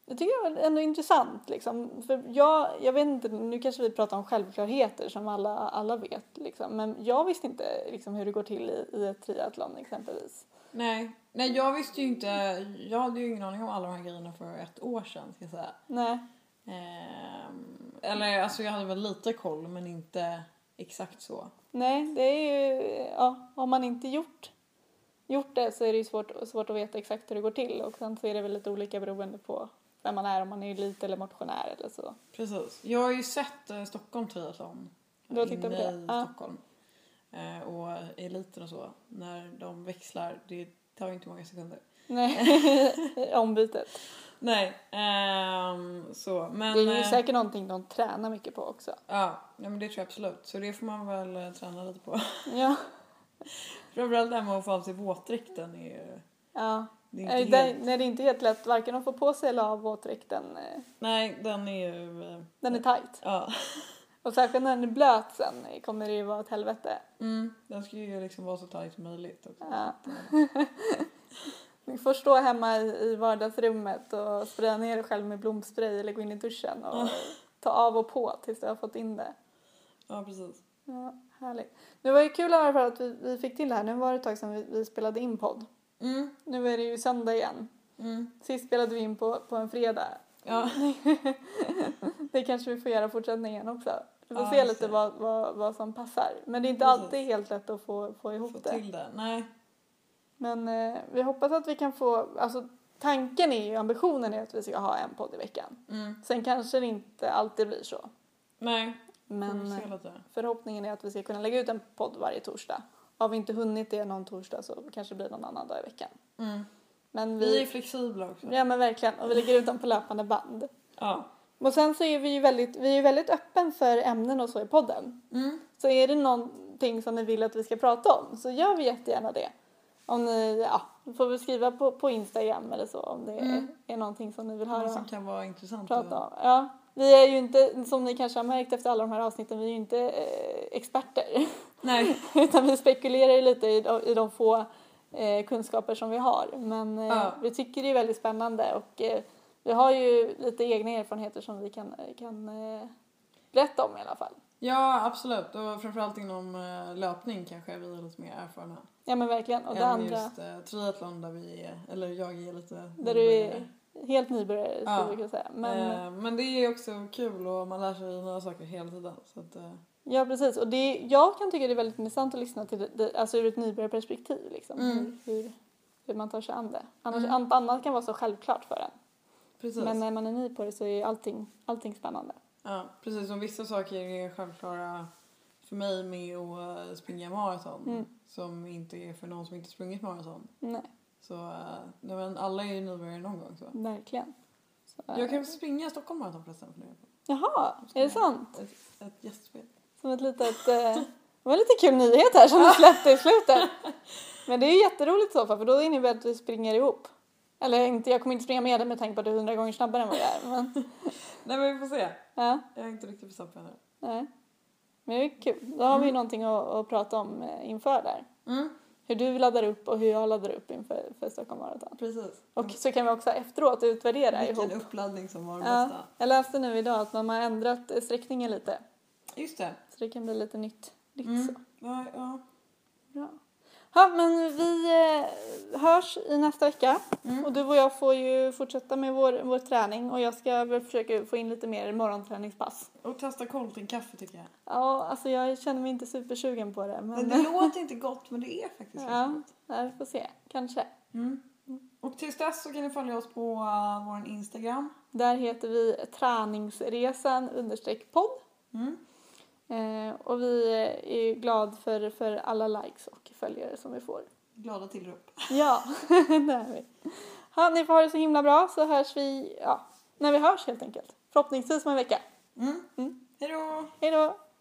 Speaker 1: det tycker jag är ändå intressant. Liksom. För jag, jag vet inte, nu kanske vi pratar om självklarheter som alla, alla vet. Liksom. Men jag visste inte liksom, hur det går till i, i ett triathlon exempelvis.
Speaker 2: Nej. Nej, jag visste ju inte. Jag hade ju ingen aning om alla de här grejerna för ett år sedan ska jag säga.
Speaker 1: Nej,
Speaker 2: Ehm, eller alltså jag hade väl lite koll men inte exakt så.
Speaker 1: nej det är ju... Ja, har man inte gjort, gjort det så är det ju svårt, svårt att veta exakt hur det går till. Och sen så är det väl lite olika beroende på vem man är, om man är elit eller motionär eller så.
Speaker 2: Precis. Jag har ju sett eh, Stockholm Triathlon.
Speaker 1: Du har tittat på
Speaker 2: Inne
Speaker 1: det?
Speaker 2: i
Speaker 1: Ja.
Speaker 2: Stockholm. Eh, och eliten och så. När de växlar. Det tar ju inte många sekunder.
Speaker 1: Nej, ombytet.
Speaker 2: Nej. ehm, så. Men,
Speaker 1: Det är ju
Speaker 2: eh,
Speaker 1: säkert någonting de tränar mycket på också.
Speaker 2: Ja, nej, men det tror jag absolut. Så det får man väl eh, träna lite på.
Speaker 1: Ja.
Speaker 2: Framförallt det här med att få av sig våtdräkten är ju...
Speaker 1: ja.
Speaker 2: Det är
Speaker 1: Nej,
Speaker 2: inte
Speaker 1: det,
Speaker 2: helt,
Speaker 1: nej, Eh, det är inte helt lätt. Varken att få på sig eller ha våtdräkten. eh,
Speaker 2: nej, den är ju... eh,
Speaker 1: Den är tajt.
Speaker 2: Ja.
Speaker 1: Och särskilt när den är blöt sen eh, kommer det ju vara ett helvete.
Speaker 2: Mm, den ska ju liksom vara så tajt som möjligt. Också.
Speaker 1: Ja. Du får stå hemma i, i vardagsrummet och spraya ner dig själv med blomspray eller gå in i duschen och ta av och på tills du har fått in det.
Speaker 2: Ja, precis.
Speaker 1: Ja, härligt. Det var ju kul att höra för att vi, vi fick till det här. Nu var det ett tag sedan vi, vi spelade in podd.
Speaker 2: Mm,
Speaker 1: Nu är det ju söndag igen.
Speaker 2: mm,
Speaker 1: Sist spelade vi in på, på en fredag.
Speaker 2: ja.
Speaker 1: Det kanske vi får göra i fortsättningen också. Vi får
Speaker 2: Ja,
Speaker 1: se lite
Speaker 2: precis.
Speaker 1: vad, vad, vad som passar. Men det är inte
Speaker 2: Precis.
Speaker 1: alltid helt lätt att få, få ihop
Speaker 2: Få
Speaker 1: det.
Speaker 2: till det. Nej.
Speaker 1: Men eh, vi hoppas att vi kan få, alltså tanken är ju, ambitionen är att vi ska ha en podd i veckan.
Speaker 2: Mm.
Speaker 1: Sen kanske det inte alltid blir så.
Speaker 2: Nej.
Speaker 1: Men
Speaker 2: Får vi se
Speaker 1: eh,
Speaker 2: lite.
Speaker 1: förhoppningen är att vi ska kunna lägga ut en podd varje torsdag. Har vi inte hunnit det någon torsdag så kanske det blir någon annan dag i veckan.
Speaker 2: Mm.
Speaker 1: Men
Speaker 2: Vi är
Speaker 1: vi,
Speaker 2: flexibla också.
Speaker 1: ja men verkligen, och vi lägger ut dem på löpande band.
Speaker 2: Ja.
Speaker 1: Och sen så är vi ju väldigt, vi är ju väldigt öppen för ämnen och så i podden.
Speaker 2: Mm.
Speaker 1: Så är det någonting som ni vill att vi ska prata om så gör vi jättegärna det. Om ni, ja, då får vi skriva på, på Instagram eller så om det
Speaker 2: Mm.
Speaker 1: är, är någonting som ni vill
Speaker 2: Något
Speaker 1: höra
Speaker 2: som kan vara intressant.
Speaker 1: prata om. Ja, vi är ju inte, som ni kanske har märkt efter alla de här avsnitten, vi är ju inte eh, experter.
Speaker 2: Nej.
Speaker 1: Utan vi spekulerar ju lite i de, i de få eh, kunskaper som vi har. Men eh,
Speaker 2: Ja.
Speaker 1: vi tycker det är väldigt spännande och eh, vi har ju lite egna erfarenheter som vi kan, kan eh, berätta om i alla fall.
Speaker 2: Ja, absolut. Och framförallt inom eh, löpning kanske vi är lite mer erfarna.
Speaker 1: Ja men verkligen. Och det
Speaker 2: än
Speaker 1: andra,
Speaker 2: just eh, triathlon där vi är, eller jag är lite
Speaker 1: där du är helt nybörjare skulle
Speaker 2: Ja.
Speaker 1: jag kunna säga. Men,
Speaker 2: Men... Eh, men det är också kul och man lär sig nya saker hela tiden. Så att, eh,
Speaker 1: Ja precis och det, jag kan tycka det är väldigt intressant att lyssna till det, det, alltså ur ett nybörjarperspektiv liksom.
Speaker 2: Mm.
Speaker 1: Hur, hur, hur man tar sig an det. Annars,
Speaker 2: Mm.
Speaker 1: allt annat kan vara så självklart för en.
Speaker 2: precis.
Speaker 1: Men eh, när man är ny på det så är allting, allting spännande.
Speaker 2: Ja, precis. Och vissa saker är självklara för mig med att eh, springa maraton.
Speaker 1: Mm.
Speaker 2: Som inte är för någon som inte sprungit maraton.
Speaker 1: Nej,
Speaker 2: Så eh, nej, men alla är ju nybörjare någon gång. Så.
Speaker 1: verkligen. Så,
Speaker 2: Jag kan springa Stockholm maraton förresten. För nu.
Speaker 1: Jaha, är det sant?
Speaker 2: Ett, ett gästspel.
Speaker 1: Som ett litet... Eh, det var en lite kul nyhet här som du släppte i slutet. Men det är ju jätteroligt i så fall för då innebär det att vi springer ihop. Eller inte, jag kommer inte springa med dig med tanke på att du är hundra gånger snabbare än vad jag är. Men,
Speaker 2: Nej men vi får se.
Speaker 1: ja.
Speaker 2: Jag är inte riktigt besatt på henne.
Speaker 1: Nej. Men det är kul. Då har vi ju någonting att, att prata om eh, inför där.
Speaker 2: Mm,
Speaker 1: Hur du laddar upp och hur jag laddar upp inför för Stockholm Marathon.
Speaker 2: precis. Mm.
Speaker 1: Och så kan vi också efteråt utvärdera
Speaker 2: Vilken
Speaker 1: ihop.
Speaker 2: uppladdning som var den
Speaker 1: Ja,
Speaker 2: bästa.
Speaker 1: jag läste nu idag att de har ändrat eh, sträckningen lite.
Speaker 2: Just det.
Speaker 1: Så det kan bli lite nytt. nytt så.
Speaker 2: Mm. Ja, ja.
Speaker 1: Bra. Ja, men vi eh, hörs i nästa vecka.
Speaker 2: Mm.
Speaker 1: Och du och jag får ju fortsätta med vår, vår träning och jag ska väl försöka få in lite mer morgonträningspass.
Speaker 2: Och testa Colton-kaffe tycker jag.
Speaker 1: Ja, alltså jag känner mig inte supersugen på det.
Speaker 2: Men
Speaker 1: Men
Speaker 2: det låter inte gott men det är faktiskt
Speaker 1: Ja.
Speaker 2: gott.
Speaker 1: ja, vi får se. Kanske.
Speaker 2: Mm. Och tills dess så kan ni följa oss på uh, vår Instagram.
Speaker 1: Där heter vi träningsresan understreck podd.
Speaker 2: Mm.
Speaker 1: Eh, och vi är ju glad för, för alla likes och följare som vi får.
Speaker 2: Glada tillrop.
Speaker 1: Ja, det är vi. Ha, ni får ha det så himla bra så hörs vi, ja, när vi hörs helt enkelt. Förhoppningsvis om en vecka.
Speaker 2: Mm.
Speaker 1: Mm.
Speaker 2: Hej då!
Speaker 1: Hej då!